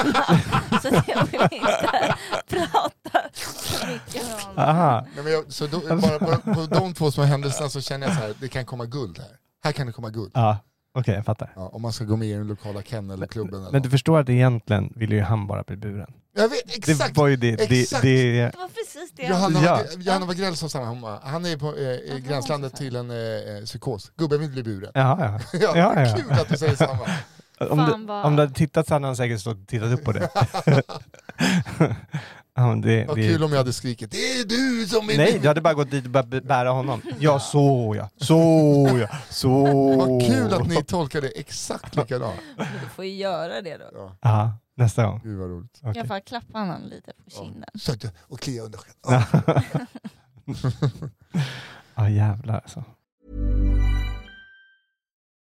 så att jag ville inte prata så mycket med honom. Aha. Nej, men jag, så då, bara på, på de två små händelserna så känner jag så här, det kan komma guld här. Här kan det komma guld. Ja. Okej, jag fattar. Ja, om man ska gå med i den lokala kennelklubben eller Men något. du förstår att egentligen ville ju han bara bli buren. Jag vet exakt! Det var ju det. det, Exakt. det Det var precis det. Johanna, Ja. Johanna Wagrell som samma, hon bara, han är på eh, i gränslandet till en eh, eh, psykos. Gubben vill bli buren. ja, Ja, Ja, ja. Kul att du säger samma. ja. Om, Fan du, vad- om du hade tittat så hade han säkert stått och tittat upp på det. ja, men det, Vad det kul om jag hade skrikit, det är du som är Nej, min. du hade bara gått dit och bara b- bära honom. Ja, så ja. Så ja. Så. Vad kul att ni tolkar det exakt likadant. Men Du får ju göra det då. Ja, Ja, nästa gång. gud vad roligt. Okej. Jag får klappa honom lite på kinden. Så att jag- Och klia under. Ja, ah, jävlar alltså.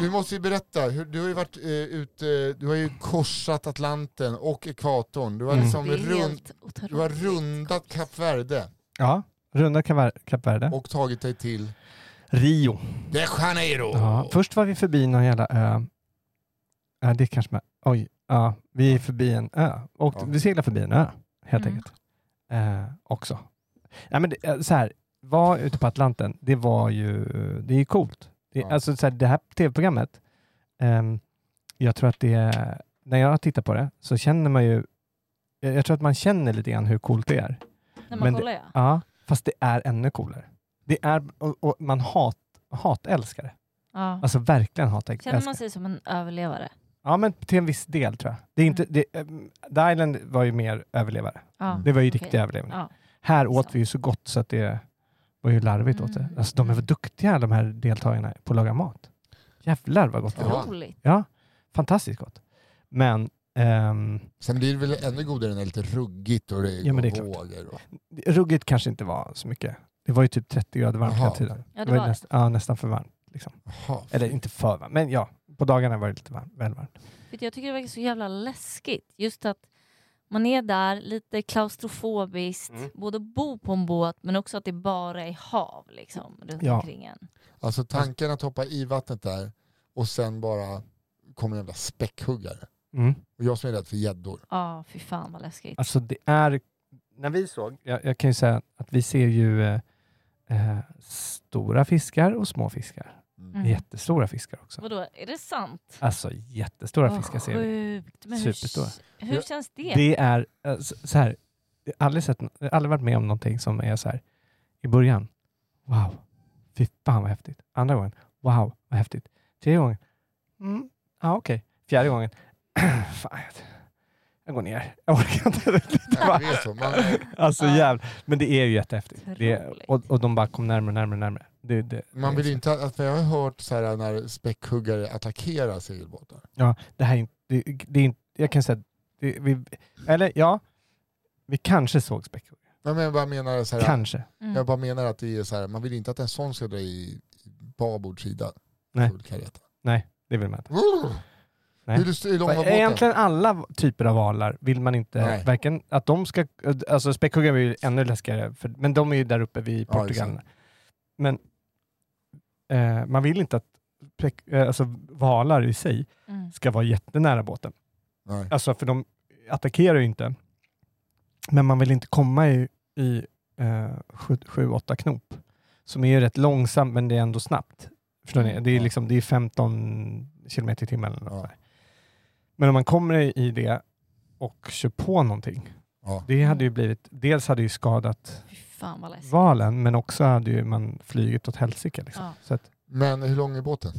Vi måste ju berätta, hur, du har ju varit eh, ute, du har ju korsat Atlanten och ekvatorn. Du har Mm. liksom Det är rund, helt otroligt. du har rundat Kap Verde Ja, runda Kava- Kap Verde. och tagit dig till Rio. De Janeiro. Ja, först var vi förbi någon jävla ö. Ja, det kanske man... Oj. Ja, vi är förbi en ö. Och Ja. Vi seglar förbi en ö, helt Mm. enkelt. Eh, också. Nej, men det, eh, så här, var ute på Atlanten, det var ju... Det är ju coolt. Det, Ja. Alltså så här, det här tv-programmet, ehm, jag tror att det... är- När jag tittar på det så känner man ju... Jag, jag tror att man känner lite grann hur coolt det är. När Men man det- kollar ja. Ja, fast det är ännu coolare. Det är... Och, och man hat, hatälskar det. ja. Alltså verkligen hatar Känner älskar. man sig som en överlevare? Ja, men till en viss del tror jag. Det är Mm. inte, det, ehm, The Island var ju mer överlevare. Ja. Mm. Det var ju Okej. riktiga överlevare. Ja. Här åt Så. vi ju så gott så att det var ju larvigt åt det. Mm, Alltså de är mm. duktiga de här deltagarna på att laga mat. Jävlar vad gott det var. Ja. Otroligt. Fantastiskt gott. Men ehm, Sen blir det väl ännu godare när det är lite ruggigt och det är, Ja, men det är klart. vågor. Och, ruggigt kanske inte var så mycket. Det var ju typ 30 grader varmt Jaha. hela tiden. Ja, det ju var näst, ja, nästan för varmt. Liksom. Jaha. Eller inte för varmt, men ja. På dagarna var det lite varmt, väl varmt. Vet du, Jag tycker det verkar så jävla läskigt. Just att man är där, lite klaustrofobiskt, både bo på en båt men också att det bara är hav liksom runt Ja. omkring en. Alltså tanken att hoppa i vattnet där och sen bara kommer en jävla späckhuggare. Mm. Och jag som är rädd för gäddor. Ja, fy fan vad läskigt. Alltså det är... När vi såg... Jag, jag kan ju säga att vi ser ju eh, eh, stora fiskar och små fiskar. Mm. Jättestora fiskar också. Vadå, är det sant? Alltså jättestora Vad fiskar ser vi. sjukt. Men Superstora. hur, hur Ja. känns det? Det är eh, s- så här... Jag har aldrig, sett, nå- jag har aldrig varit med om någonting som är så här i början. Wow, fy fan vad häftigt. Andra gången, wow vad häftigt. Tredje gången, mm, ja okej. Fjärde gången, fan jag- jag går ner. Jag orkar inte. Nej, det är så. Man, Alltså Ja. jävlar. Men det är ju jättehäftigt. Det, Otroligt. och, och de bara kom närmare och närmare. och närmare. Det, det, man det, vill ju inte, att- för jag har hört så här när späckhuggare attackerar segelbåtar. Ja, det här är inte... Det, det är inte jag kan säga... att Det, vi, eller ja, vi kanske såg späckhuggare. Nej, men Jag bara menar, så här, Kanske. Mm. jag bara menar att det är så här, man vill inte att en sån ska dra i i babord sida. Nej. Full kareta. Det vill man inte. Woo! Nej. Hur, hur lång var båten? Egentligen alla typer av valar vill man inte... Nej. Varken att de ska... Alltså späckhuggare är ju ännu läskigare, för, men de är ju där uppe vid Ja, Portugal. exakt. men eh, man vill inte att späck- eh, alltså, valar i sig Mm. ska vara jättenära båten. Nej. Alltså för de attackerar ju inte. Men man vill inte komma i, i eh, 7-8 knop. Som är ju rätt långsamt men det är ändå snabbt. Förstår ni? Det är, Mm. Ja. liksom, det är 15 kilometer i timmen eller något Ja. sådär. Men om man kommer i- i det och kör på någonting. Ja. Det hade ju blivit, dels hade ju skadat Fy fan vad läskigt. valen men också hade ju man flugit åt helsike. Liksom. Ja. Så att Men hur lång är båten?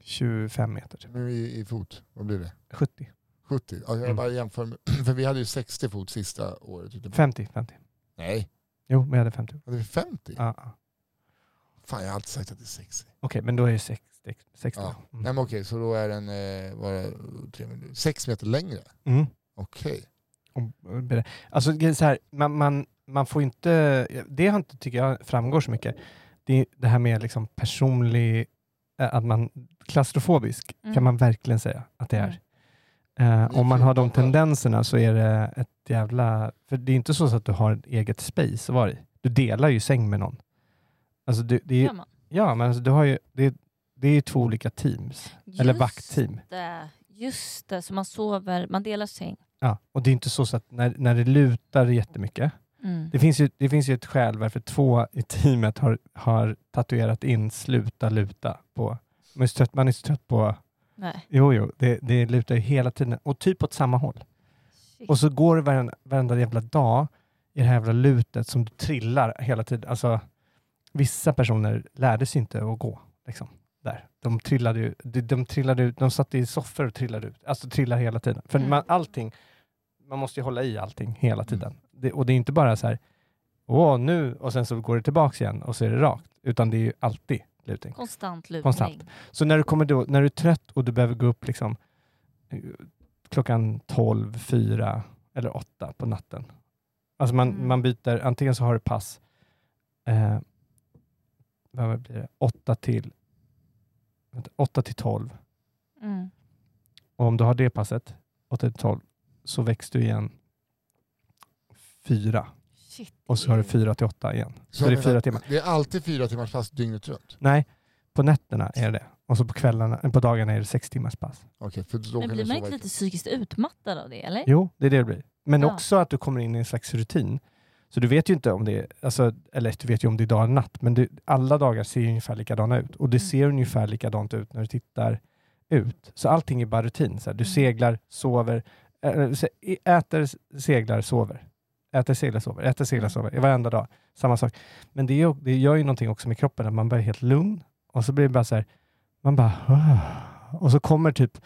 25 meter, typ. Nu i, i fot, vad blir det? 70, 70? Ja, jag Mm. bara jämför med, för vi hade ju 60 fot sista året. ute på- 50, 50. Nej, Jo, men jag hade 50. hade vi 50? Ja, Mm. ja. Fan, jag har alltid sagt att det är 60. Okej, men då är det 60. 60. Ja. Mm. Nej men okej, så då är den eh, vad är det, tre minuter, sex meter längre. Mm. Okej. Och- och ber- Alltså det är så här, man, man, man får inte, det har inte, tycker jag framgår så mycket, det, det här med liksom personlig, eh, att man, klaustrofobisk Mm. kan man verkligen säga att det är. Mm. Eh, om man har de tendenserna så är det ett jävla... För det är inte så att du har ett eget space att vara i. Du delar ju säng med någon. Alltså du, det är, Gör ja. man? men alltså du har ju, det, det är ju två olika teams. Eller Just vaktteam. det, Just det, så man sover, man delar säng. Ja, och det är inte så, så att när, när det lutar jättemycket. Mm. Det finns ju, det finns ju ett skäl varför två i teamet har, har tatuerat in sluta luta på... Man är så trött, man är så trött på... Nej. Jo, jo, det, det lutar ju hela tiden. Och typ åt samma håll. Shit. Och så går det varenda, varenda jävla dag i det här jävla lutet som du trillar hela tiden. Alltså, vissa personer lärde sig inte att gå. Liksom, där. De, trillade ju, de, de trillade ut, de satt i soffor och trillade ut. Alltså trillar hela tiden. För Mm. man, allting, man måste ju hålla i allting hela tiden. Det, och det är inte bara så här, åh nu, och sen så går det tillbaks igen och så är det rakt. Utan det är ju alltid lutning. Konstant lutning. Konstant. Så när du, kommer då, när du är trött och du behöver gå upp liksom, eh, klockan 12, 4 eller 8 på natten. Alltså man, Mm. man byter, antingen så har du pass eh, vad blir det? 8 till vänta, 8 till 12 Mm. och om du har det passet 8 till 12 så väcks du igen 4 Shit. och så har du 4 till 8 igen. Mm. Så det jag är menar, fyra timmar. Det är alltid fyra timmars pass dygnet runt. Nej, på nätterna är det och så på kvällarna, eh, på dagarna är det 6 timmars pass. Okej, för då Men kan blir du man sova inte i- lite psykiskt utmattad av det eller? Jo, det är det det blir. Men Ja. också att du kommer in i en slags rutin. Så du vet ju inte om det är, alltså, eller du vet ju om det är dag eller natt, men du, alla dagar ser ju ungefär likadana ut. Och det Mm. ser ungefär likadant ut när du tittar ut. Så allting är bara rutin. Så här, du Mm. seglar, sover, äh, se- äter, seglar, sover. Äter, seglar, sover. Äter, seglar, Mm. sover. Varenda dag. Samma sak. Men det, är, ju- det gör ju någonting också med kroppen, att man blir helt lugn. Och så blir det bara så här, man bara... Och så kommer typ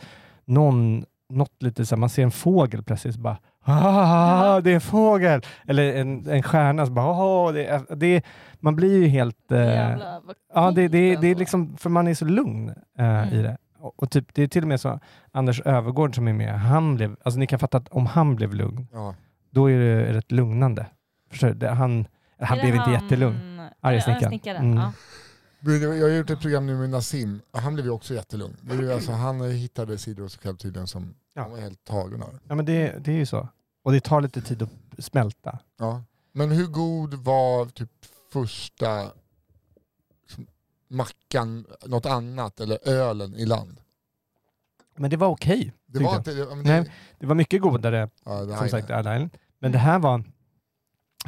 någon, något lite så här, man ser en fågel plötsligt, så bara ah, det är en fågel! Eller en, en stjärna, så bara ah, det är, det är, man blir ju helt... Eh, Jävlar, vad ja, det, det, coolt det är ändå. liksom, för man är så lugn eh, i Mm. det. Och, och typ, det är till och med så, Anders Övergård som är med, han blev, alltså ni kan fatta att om han blev lugn, Ja. då är det rätt lugnande. Förstår du? Det, han han Är blev det inte jättelugn. han- Arga Ja, snickaren. snickaren. Mm. Ja. Men Jag har gjort ett program nu med Nassim, han blev ju också jättelugn. Det är ju Alltså, han hittade sidor hos sig själv tydligen som Ja. han var helt tagen av. Ja, men det, det är ju så. Och det tar lite tid att smälta. Ja. Men hur god var typ första liksom, mackan, något annat eller ölen i land? Men det var okej. Det tyckte var jag. inte... ja, men Nej, det var mycket godare ja, det här som är- sagt Ad Island. Men det här var,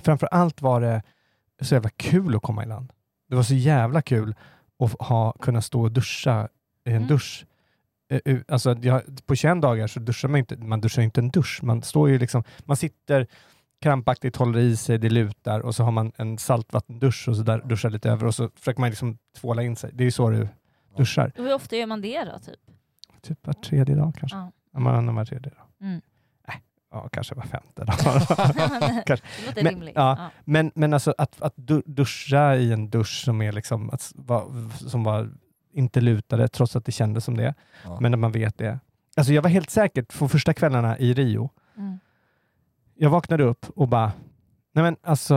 framför allt var det så jävla kul att komma i land. Det var så jävla kul att ha, kunna stå och duscha i en Mm. dusch. Eh, u- Alltså, jag, på 21 dagar så duschar man ju inte, man duschar ju inte en dusch. Man står ju liksom, man sitter krampaktigt, håller i sig, det lutar och så har man en saltvattendusch och så där duschar lite över och så försöker man liksom tvåla in sig. Det är ju så du duschar. Och Hur ofta gör man det då? Typ? Typ var tredje dag kanske. Ja. Ja. Varannan var tredje dag. Mm. Äh, ja, kanske var femte dag. Kanske. Det låter Men- rimligt. ja. Men, men alltså att, att du- duscha i en dusch som är liksom att, s- va, som var inte lutade, trots att det kändes som det, Ja. men när man vet det. Alltså jag var helt säker, för första kvällarna i Rio, Mm. jag vaknade upp och bara, nej men alltså,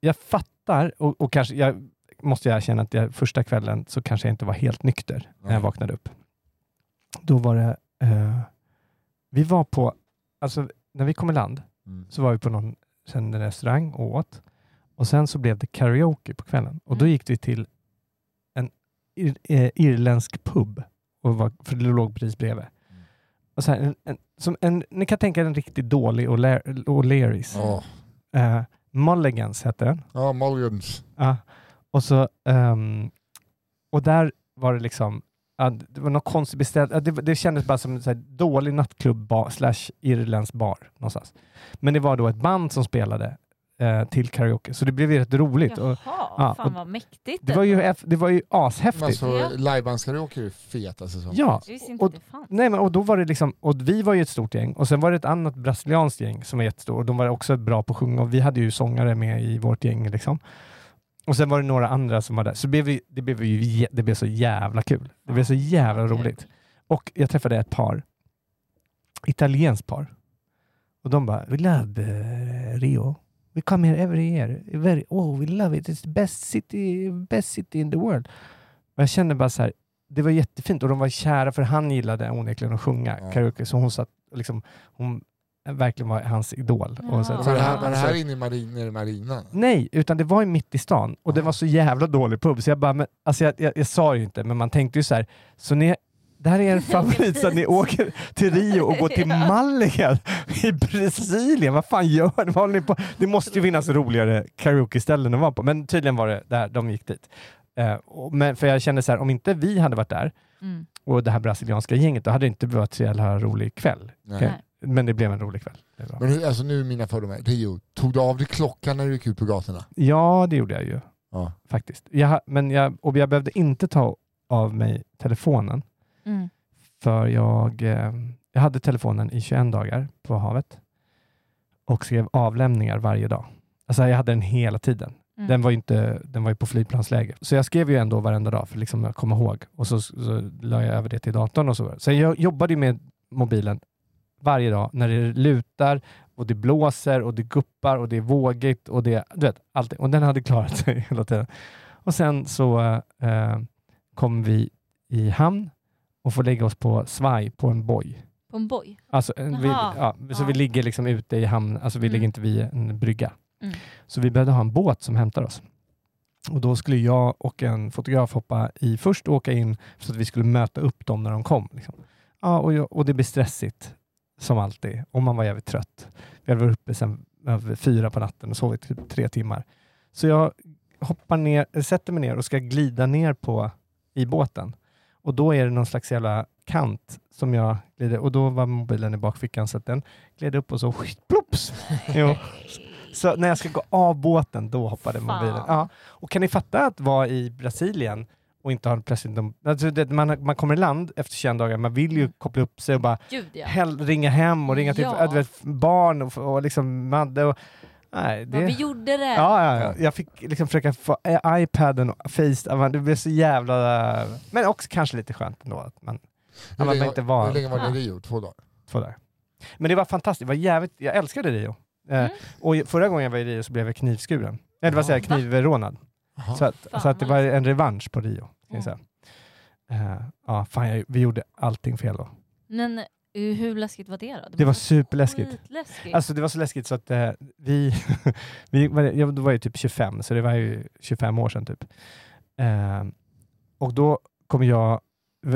jag fattar och, och kanske, jag måste jag erkänna att jag, första kvällen så kanske jag inte var helt nykter när jag Nej. vaknade upp. Då var det, eh, vi var på, alltså när vi kom i land, Mm. så var vi på någon sen en restaurang och åt. Och sen så blev det karaoke på kvällen. Och då Mm. gick vi till en ir, eh, irländsk pub, och var, för det låg precis bredvid. Mm. Och så här, en, en, som en, ni kan tänka er en riktigt dålig O'Lear- O'Learys. Ja, Eh, Mulligans hette den. ja Mulligans. Ja. Och, så, ehm, och där var det liksom, ja, det var något konstigt beställt. Ja, det, det kändes bara som en så här dålig nattklubb bar, slash irländsk bar någonstans. Men det var då ett band som spelade eh, till karaoke, så det blev ju rätt roligt. Och Jaha, ja, fan och vad mäktigt. det, var ju, eff- det var ju ashäftigt. Men alltså, Ja. livebandskaraoke är ju fetaste som ja, Jag visste inte och, att det fanns. nej, men, och då var det liksom, och vi var ju ett stort gäng och sen var det ett annat brasilianskt gäng som var jättestort och de var också bra på att sjunga och vi hade ju sångare med i vårt gäng liksom. Och sen var det några andra som var där, så det blev, ju- det blev, ju, jä- det blev så jävla kul. Det blev så jävla Kul. roligt. Och jag träffade ett par, italienskt par, och de bara, vi love eh, Rio. We come here every year. Very, oh, we love it. It's the best city, best city in the world. Och jag kände bara så här, det var jättefint och de var kära för han gillade onekligen att sjunga Ja. karaoke. Så hon satt liksom, hon verkligen var hans idol. Och så, Ja. Var det här, så- var det här inne i marin, nere i marinan? Nej, utan det var ju mitt i stan och det var så jävla dålig pub så jag bara, men, alltså jag, jag, jag sa ju inte, men man tänkte ju så här, så ni, det här är en favorit så att ni åker till Rio och går till Malaga i Brasilien, vad fan gör ni? Vad håller ni på? Det måste ju finnas roligare karaoke-ställen att vara på, men tydligen var det där de gick dit. Eh, och, men, för jag kände så här, om inte vi hade varit där Mm. och det här brasilianska gänget, då hade det inte varit så jävla rolig kväll. Nej. Okej. Men det blev en rolig kväll. Det var- Men hur- alltså nu är mina fördomar. Rio, tog du av dig klockan när du gick ut på gatorna? Ja, det gjorde jag ju. Ja. faktiskt. Jag, ha- men jag, och jag behövde inte ta av mig telefonen, Mm. för jag, eh, jag hade telefonen i 21 dagar på havet och skrev avlämningar varje dag. Alltså jag hade den hela tiden. Mm. Den, var ju inte, den var ju på flygplansläge. Så jag skrev ju ändå varenda dag för liksom att komma ihåg. Och så, så la jag över det till datorn och så. Sen jag jobbade ju med mobilen varje dag när det lutar och det blåser och det guppar och det är vågigt och det, du vet, allt. det. Och den hade klarat sig hela tiden. Och sen så eh, kom vi i hamn och får lägga oss på svaj på en boj. På en boj. Alltså, en- vi, Jaha. ja, så Ja. vi ligger liksom ute i hamn, alltså vi Mm. ligger inte vid en brygga. Mm. Så vi behövde ha en båt som hämtar oss. Och då skulle jag och en fotograf hoppa i först och åka in så att vi skulle möta upp dem när de kom. Liksom. Ja, och, jag, och det blir stressigt som alltid och man var jävligt trött. Vi hade varit uppe sen över fyra på natten och sovit typ tre timmar. Så jag hoppar ner, eh, sätter mig ner och ska glida ner på, i båten. Och då är det någon slags jävla kant som jag glider och då var mobilen i bakfickan så att den gled upp och så plops! Jo. Så när jag ska gå av båten, då hoppade Fan. mobilen. Ja. Och kan ni fatta att vara i Brasilien och inte ha plötsligt... De, alltså det, man, man kommer i land efter 21 dagar, man vill ju koppla upp sig och bara Gud Mm. ja. hell, ringa hem och ringa till Ja. äh, du vet, barn och, och liksom Madde och... Nej, det... Vad vi gjorde det. Ja, ja, ja, jag fick liksom försöka få i- iPaden och Face, ja, men det blev så jävla... Men också kanske lite skönt ändå att man, att man inte Ah. hur var länge var det i Rio? Två dagar? två dagar. Men det var fantastiskt, det var jävligt, jag älskade Rio. Eh, Mm. Och förra gången jag var i Rio så blev jag knivskuren. Eh, Eller vad säger jag, Va? knivrånad. Jaha. Så att, Fan, Mm. så att det var vad en revansch på Rio. Kan jag säga. Eh, ja, fan, jag, vi gjorde allting fel då. Men eh, hur läskigt var det då? Det var måste vara superläskigt. skitläskigt. Alltså det var så läskigt så att eh, vi, vi var, jag då var ju typ 25, så det var ju 25 år sedan typ. Eh, och då kom jag,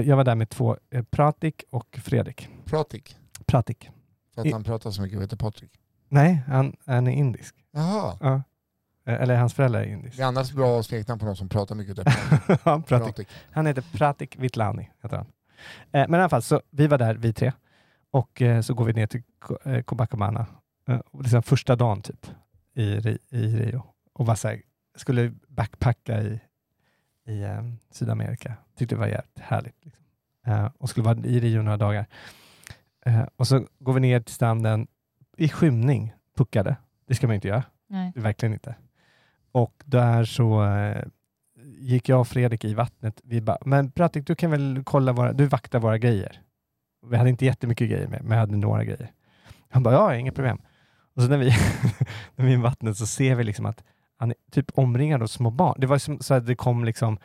jag var där med två, eh, Pratik och Fredrik. Pratik. Pratik. För I- att han pratar så mycket och heter Patrik. Nej, han, han är indisk. Jaha. Ja. Eh, Eller hans föräldrar är Det indiska. är annars bra smeknamn på någon som pratar mycket. och heter Ja, Pratik. Pratik. Han heter Pratik Vitlani. Heter han. Eh, men i alla fall, så vi var där, vi tre. Och eh, så går vi ner till Ko- eh, Copacabana. Eh, och liksom första dagen typ i, Ri- i Rio. Och bara så här, skulle backpacka i, i eh, Sydamerika. Tyckte det var jävligt härligt. Liksom. Eh, och skulle vara i Rio några dagar. Eh, och så går vi ner till stranden i skymning, puckade. Det ska man ju inte göra. Nej. Verkligen inte. Och där så eh, gick jag och Fredrik i vattnet. Vi bara, men Pratik, du kan väl kolla våra, du vaktar våra grejer. Vi hade inte jättemycket grejer med, men jag hade några grejer. Han bara, ja, inga problem. Och så när vi, när vi är i vattnet så ser vi liksom att han är typ omringad av små barn. Det var ju som, så att det kom liksom,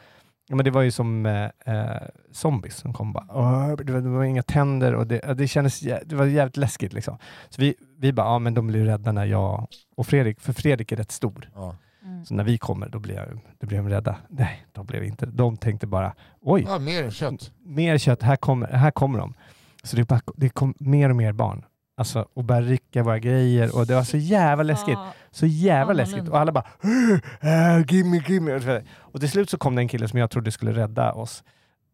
ja, men det var ju som eh, eh, zombies som kom bara. "Åh", Det var, det var inga tänder och det, det kändes, jä- det var jävligt läskigt liksom. Så vi, vi bara, ja men de blir rädda när jag och Fredrik, för Fredrik är rätt stor. Ja. Mm. Så när vi kommer, då blir, jag, då blir de rädda. Nej, de blev inte De tänkte bara, oj, ja, mer än kött. mer kött, här kommer, här kommer de. Så det, bara, det kom mer och mer barn. Alltså, och började rycka våra grejer och det var så jävla läskigt. Ja. Så jävla Fan, vad läskigt. lugnt. Och alla bara, "Åh, äh, gimme, gimme. Och till slut så kom det en kille som jag trodde skulle rädda oss.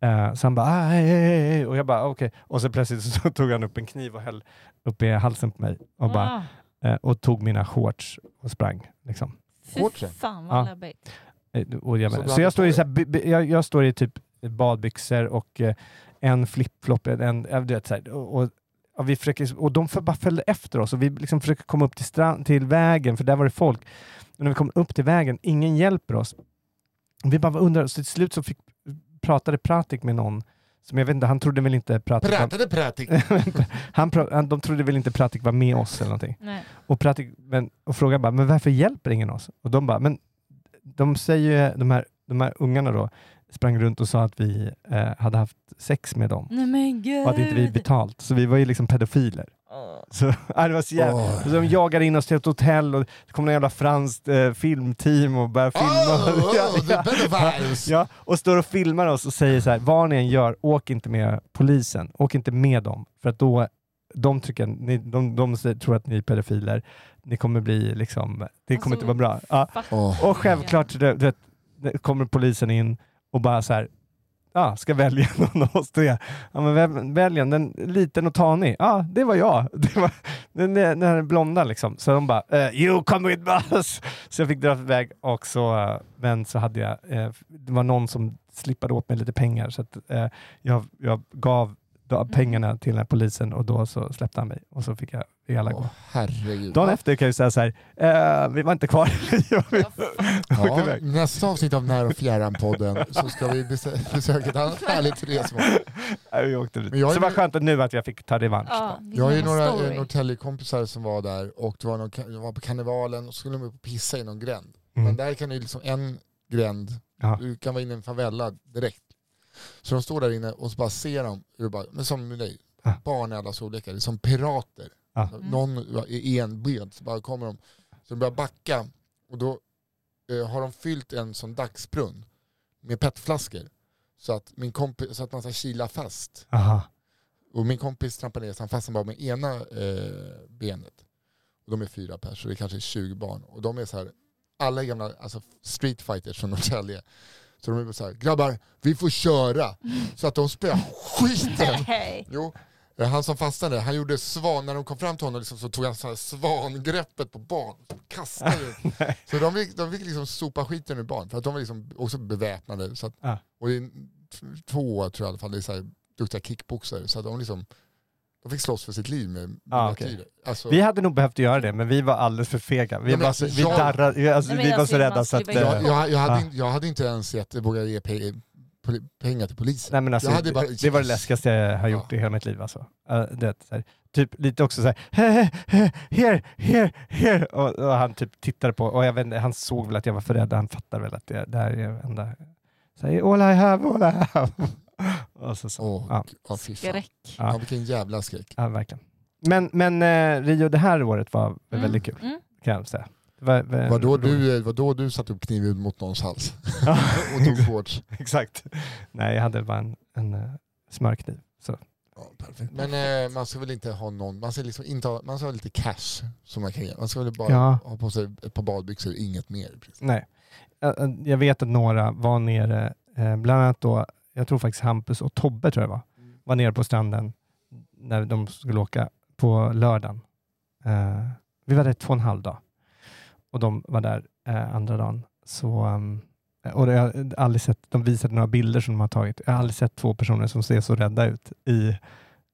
Eh, så han bara, "Ah, hej, hej, hej, hej." och jag bara, "Ah, okej. Och så plötsligt så tog han upp en kniv och höll upp i halsen på mig och, bara, Ah, eh, och tog mina shorts och sprang. Liksom. Fy Shortsen. fan vad Ja. läbbigt. Eh, Och jag Så menar, bra så jag att du står, i får så här, by- by- jag, jag står i typ badbyxor och eh, en flipflop, en, en, ja, du vet, så här, och, och, och, vi försöker, liksom, och de för, bara följde efter oss och vi liksom försöker komma upp till, strand, till vägen för där var det folk. Och när vi kom upp till vägen, ingen hjälper oss. Och Vi bara undrar, så till slut så fick, pratade Pratik med någon Som jag vet inte, han trodde väl inte Pratik... var- Pratade pratik. han, pra- han, de trodde väl inte Pratik var med oss eller någonting. Nej. Och, Pratik, men, och frågade bara, men varför hjälper ingen oss? Och de bara, men de säger ju, de här, de här ungarna då, sprang runt och sa att vi eh, hade haft sex med dem. Nej men gud. Och att inte vi Mm. betalt. Så vi var ju liksom pedofiler. Åh. Så, ja, det var så jävla... Åh. Så de jagar in oss till ett hotell och det kommer en jävla franskt eh, filmteam och börjar Oh, filma. oh, ja, the ja. pedophiles. Ja, och står och filmar oss och säger så här, vad ni än gör, åk inte med polisen. Åk inte med dem. För att då, de, tycker, ni, de, de säger- tror att ni är pedofiler. Ni kommer bli liksom, det kommer Alltså, inte vara bra. Ja. fuck. Åh. Och självklart du vet, det kommer polisen in och bara så här, ja, ska välja någon av oss tre. Ja, men vem, välj en, den liten och tanig. Ja, det var jag. Det var den, den den här blonda liksom. Så de bara, eh, you come with us! Så jag fick dra iväg och så, eh, men så hade jag, eh, det var någon som slippade åt mig lite pengar så att eh, jag, jag gav då pengarna till den här polisen och då så släppte han mig och så fick jag vi alla gå. Åh, herregud. Dagen efter kan jag ju säga så här, eh, vi var inte kvar. Jag åkte Ja, iväg. nästa avsnitt av När och Fjärran-podden så ska vi besö- besöka ett annat härligt resmål. Nej, vi åkte dit. Men jag är Så det var ju- skönt att nu att jag fick ta revansch. Ja, Jag har ju vilken några story. eh, Norrtäljekompisar som var där och det var, någon, ka- de var på karnevalen och så skulle de upp och pissa i någon gränd. Mm. Men där kan du liksom en gränd, Ja. du kan vara inne i en favela direkt. Så de står där inne och så bara ser de, hur det bara, men som med dig, Ja. barn i alla storlekar, det är som pirater. Ja. Så Någon är enbent, så bara kommer de. Så de börjar backa och då eh, har de fyllt en sån dagsbrunn med petflaskor. Så att, min kompis, så att man ska kila fast. Aha. Och min kompis trampade ner så han fastnade bara med ena eh, benet. Och de är fyra pers, så det är kanske är 20 barn. Och de är så här, alla är gamla alltså street fighters från Norrtälje. Så de är bara så här, grabbar, vi får köra! Så att de spöar skiten! Nej. Jo, eh, han som fastnade, han gjorde svan, när de kom fram till honom liksom, så tog han så här svangreppet på barn, kastade ut. Så de fick, de fick liksom sopa skiten ur barn, för att de var liksom också beväpnade. Så att, Ja. Och det är t- två tror jag i alla fall, det är så här, duktiga kickboxare, så att de liksom de fick slåss för sitt liv med med Ah, okej. latyrer. alltså, Vi hade nog behövt göra det, men vi var alldeles för fega. Vi, Ja, men var, så, vi, jag- darrade, vi- alltså, Nej, men vi jag var så ser man rädda så att... skriver ju- jag, eh, jag, jag, hade, Ah. inte- jag hade inte ens gett, vågat ge pe, poli- pengar till polisen. Nej, men alltså, jag hade bara- det var det läskigaste jag har gjort Ja. i hela mitt liv. Alltså. Eh, det, är så här, typ lite också såhär, here, here, here. Och, och han typ tittade på, och jag vet, inte, han såg väl att jag var för rädd, han fattade väl att det, det här är enda... Så här, all I have, all I have. Och så, så. Åh, Ja. gud, ja, fy fan. Skräck. Ja, vilken jävla skräck. Ja, verkligen. Men, men eh, Rio det här året var väldigt kul, Mm. kan jag säga. Det var- var- Vad då roligt. du, eh, vadå du satte upp kniven mot någons hals Ja, och tog kort. Exakt. Nej, jag hade bara en, en eh, smörkniv. Så. Ja, perfekt. Men eh, man ska väl inte ha någon, man ska, liksom inte ha, man ska ha lite cash som man kan ge. Man ska väl bara Ja. ha på sig ett par badbyxor, inget mer. Nej. Jag, jag vet att några var nere, eh, bland annat då, jag tror faktiskt Hampus och Tobbe tror jag det var, Mm. var nere på stranden när de skulle åka på lördagen. Eh, vi var där två och en halv dag och de var där eh, andra dagen. Så, um, och det, jag har aldrig sett, de visade några bilder som de har tagit. Jag har aldrig sett två personer som ser så rädda ut. I,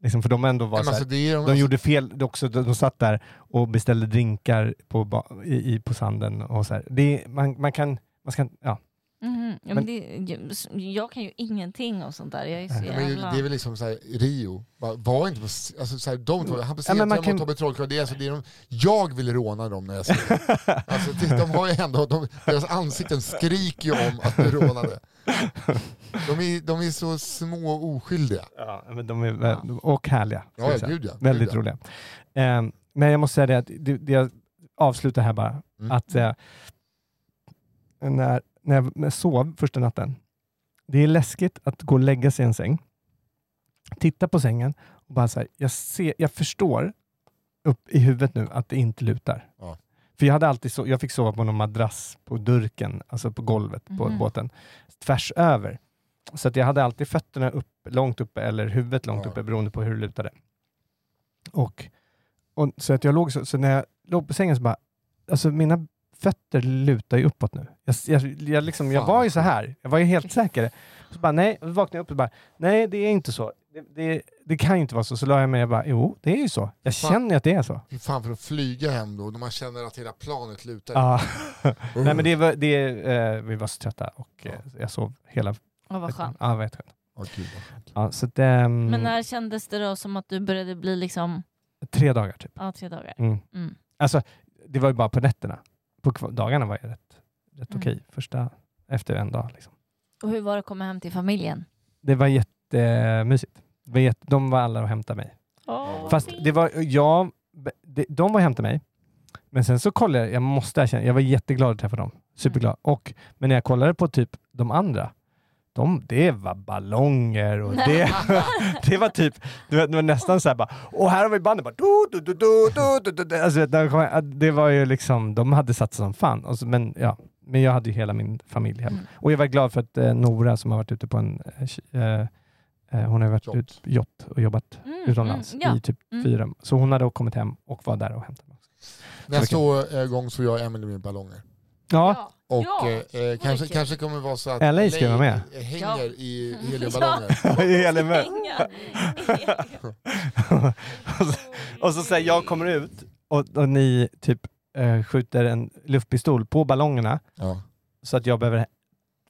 liksom, för de ändå var Men så här, alltså, det är, de gjorde fel det också. De de satt där och beställde drinkar på, ba- i, i, på sanden. Och så här. Det, är- man, man kan... Man ska, ja. Mhm. Ja, Men- men det, jag kan ju ingenting om sånt där. Jag är så Ja, men jävla... det är väl liksom såhär, Rio, bara, var inte på, s- alltså såhär, de två, Hampus Ja, Hedström men man kan- och Tobbe Trollkarl, det är alltså, det är de, jag vill råna dem när jag ser dem. Alltså, det- de har ju ändå, de, deras ansikten skriker ju om att bli rånade. De är, de är så små och oskyldiga. Ja, men de är, vä- och härliga. ska Ja, jag säga. gud ja. Väldigt Gud ja. roliga. Ehm, men jag måste säga det att det, det jag avslutar här bara. Mm. Att eh, när, när jag sov första natten, det är läskigt att gå och lägga sig i en säng, titta på sängen och bara så här, jag, ser, jag förstår upp i huvudet nu att det inte lutar. Ja. För jag, hade alltid so jag fick sova på någon madrass på durken, alltså på golvet på Mhm. båten, tvärs över. Så att jag hade alltid fötterna upp, långt uppe eller huvudet långt Ja. uppe beroende på hur det lutade. Och, och, så att jag låg så, så när jag låg på sängen så bara, alltså mina fötter lutar ju uppåt nu. Jag, jag, jag, liksom, jag Fan, var vad ju så här, jag var ju helt säker. Så bara nej, och så vaknade jag upp och bara, nej det är inte så. Det, det, det kan ju inte vara så. Så la jag mig och bara, jo det är ju så. Jag Fan. känner ju att det är så. Fy fan för att flyga hem då, när man känner att hela planet lutar. Ja. nej men det, var- det, eh, vi var så trötta och eh, jag sov hela... Åh, vad skönt. Ja, vad skönt. Ja, gud, vad skönt. Ja, så att, ehm, Men när kändes det då som att du började bli liksom, Tre dagar typ. ja tre dagar? Mm. Mm. Alltså, det var ju bara på nätterna. På kv- dagarna var jag rätt, rätt Mm. okej. Första, efter en dag. Liksom. Och hur var det att komma hem till familjen? Det var jättemysigt. Det var jätte, de var alla och hämtade mig. Åh, Fast det var, jag, det- de var och hämtade mig. Men sen så kollade jag, jag måste erkänna, jag var jätteglad att träffa dem. Superglad. Och, men när jag kollade på typ de andra, de, det var ballonger och det, det var typ, du vet, det var nästan så här bara, och här har vi bandet bara, do, do, do, do, do, do, do, do. Alltså, vet du, när jag kom- det var ju liksom, de hade satt som fan. Och så, men, ja, men jag hade ju hela min familj hemma. Mm. Och jag var glad för att eh, Nora som har varit ute på en, eh, ki- eh, eh, hon har ju varit Jott. ut, jott och jobbat Mm, utomlands mm, ja. i typ Mm. fyra. Så hon hade kommit hem och var där och hämtade mig. också. Nästa år, eh, gång så jag och Emily med ballonger. Ja, Och Ja, eh, eh, kanske, kul. kanske kommer det vara så att LA ska vara med. eh, hänger Ja. i heliumballonger. ja. Elin Inga. Och så säger jag kommer ut och, och ni typ eh, skjuter en luftpistol på ballongerna Ja. så att jag behöver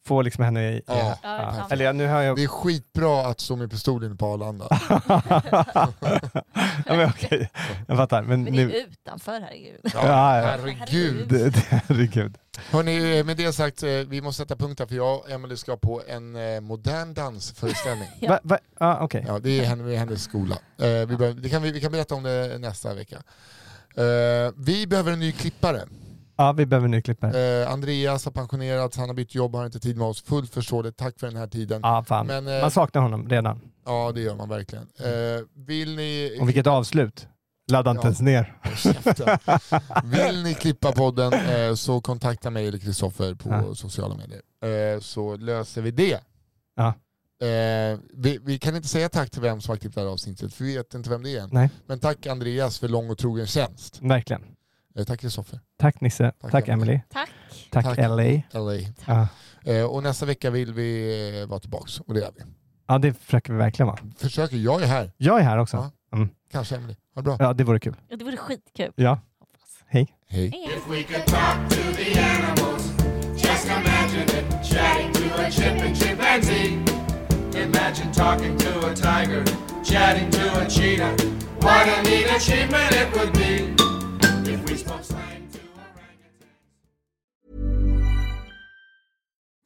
få liksom henne i... i- Ja. Ja. Ja, Eller ja, nu har jag... Det är skitbra att stå med pistol inne på Arlanda. ja, men okej, jag fattar. Men, Men det är nu... utanför, herregud. Ja, ja. Herregud. Det, det, herregud. Hörrni, eh, med det sagt, eh, vi måste sätta punkt här för jag och Emily ska på en eh, modern dansföreställning. Ja. Va, va? Ja, okej. Ja, det är henne- hennes skola. Eh, vi, behöver, det kan vi, vi kan berätta om det nästa vecka. Eh, vi behöver en ny klippare. Ja, vi behöver en ny klippare. Eh, Andreas har pensionerats, han har bytt jobb, har inte tid med oss. Fullt förståeligt, tack för den här tiden. Ja, fan. Men, eh, Man saknar honom redan. Ja, det gör man verkligen. Mm. Eh, vill ni... Och vilket avslut. Ladda inte Ja. ens ner. Håll käften. Vill ni klippa podden eh, så kontakta mig eller Kristoffer på Ja. sociala medier. Eh, så löser vi det. Ja. Eh, vi, vi kan inte säga tack till vem som har klippt det här avsnittet, för vi vet inte vem det är än. Nej. Men tack Andreas för lång och trogen tjänst. Verkligen. Eh, tack Kristoffer. Tack Nisse, Tack, tack, Emily. Emily, Tack. tack, Tack. LA. LA. Ja. Eh, och nästa vecka vill vi eh, vara tillbaka, och det är vi. ja, det försöker vi verkligen vara. Försöker, jag är här. Jag är här också. Mm. Kanske Emily. Ha det bra. Ja, det vore kul. Ja, Det vore skitkul. Ja, hej. Hej. If we could talk to the animals, just imagine it chatting to a chip and chimpanzee. Imagine talking to a tiger, chatting to a cheetah. What a neat achievement it would be if we spoke slang to orangutans.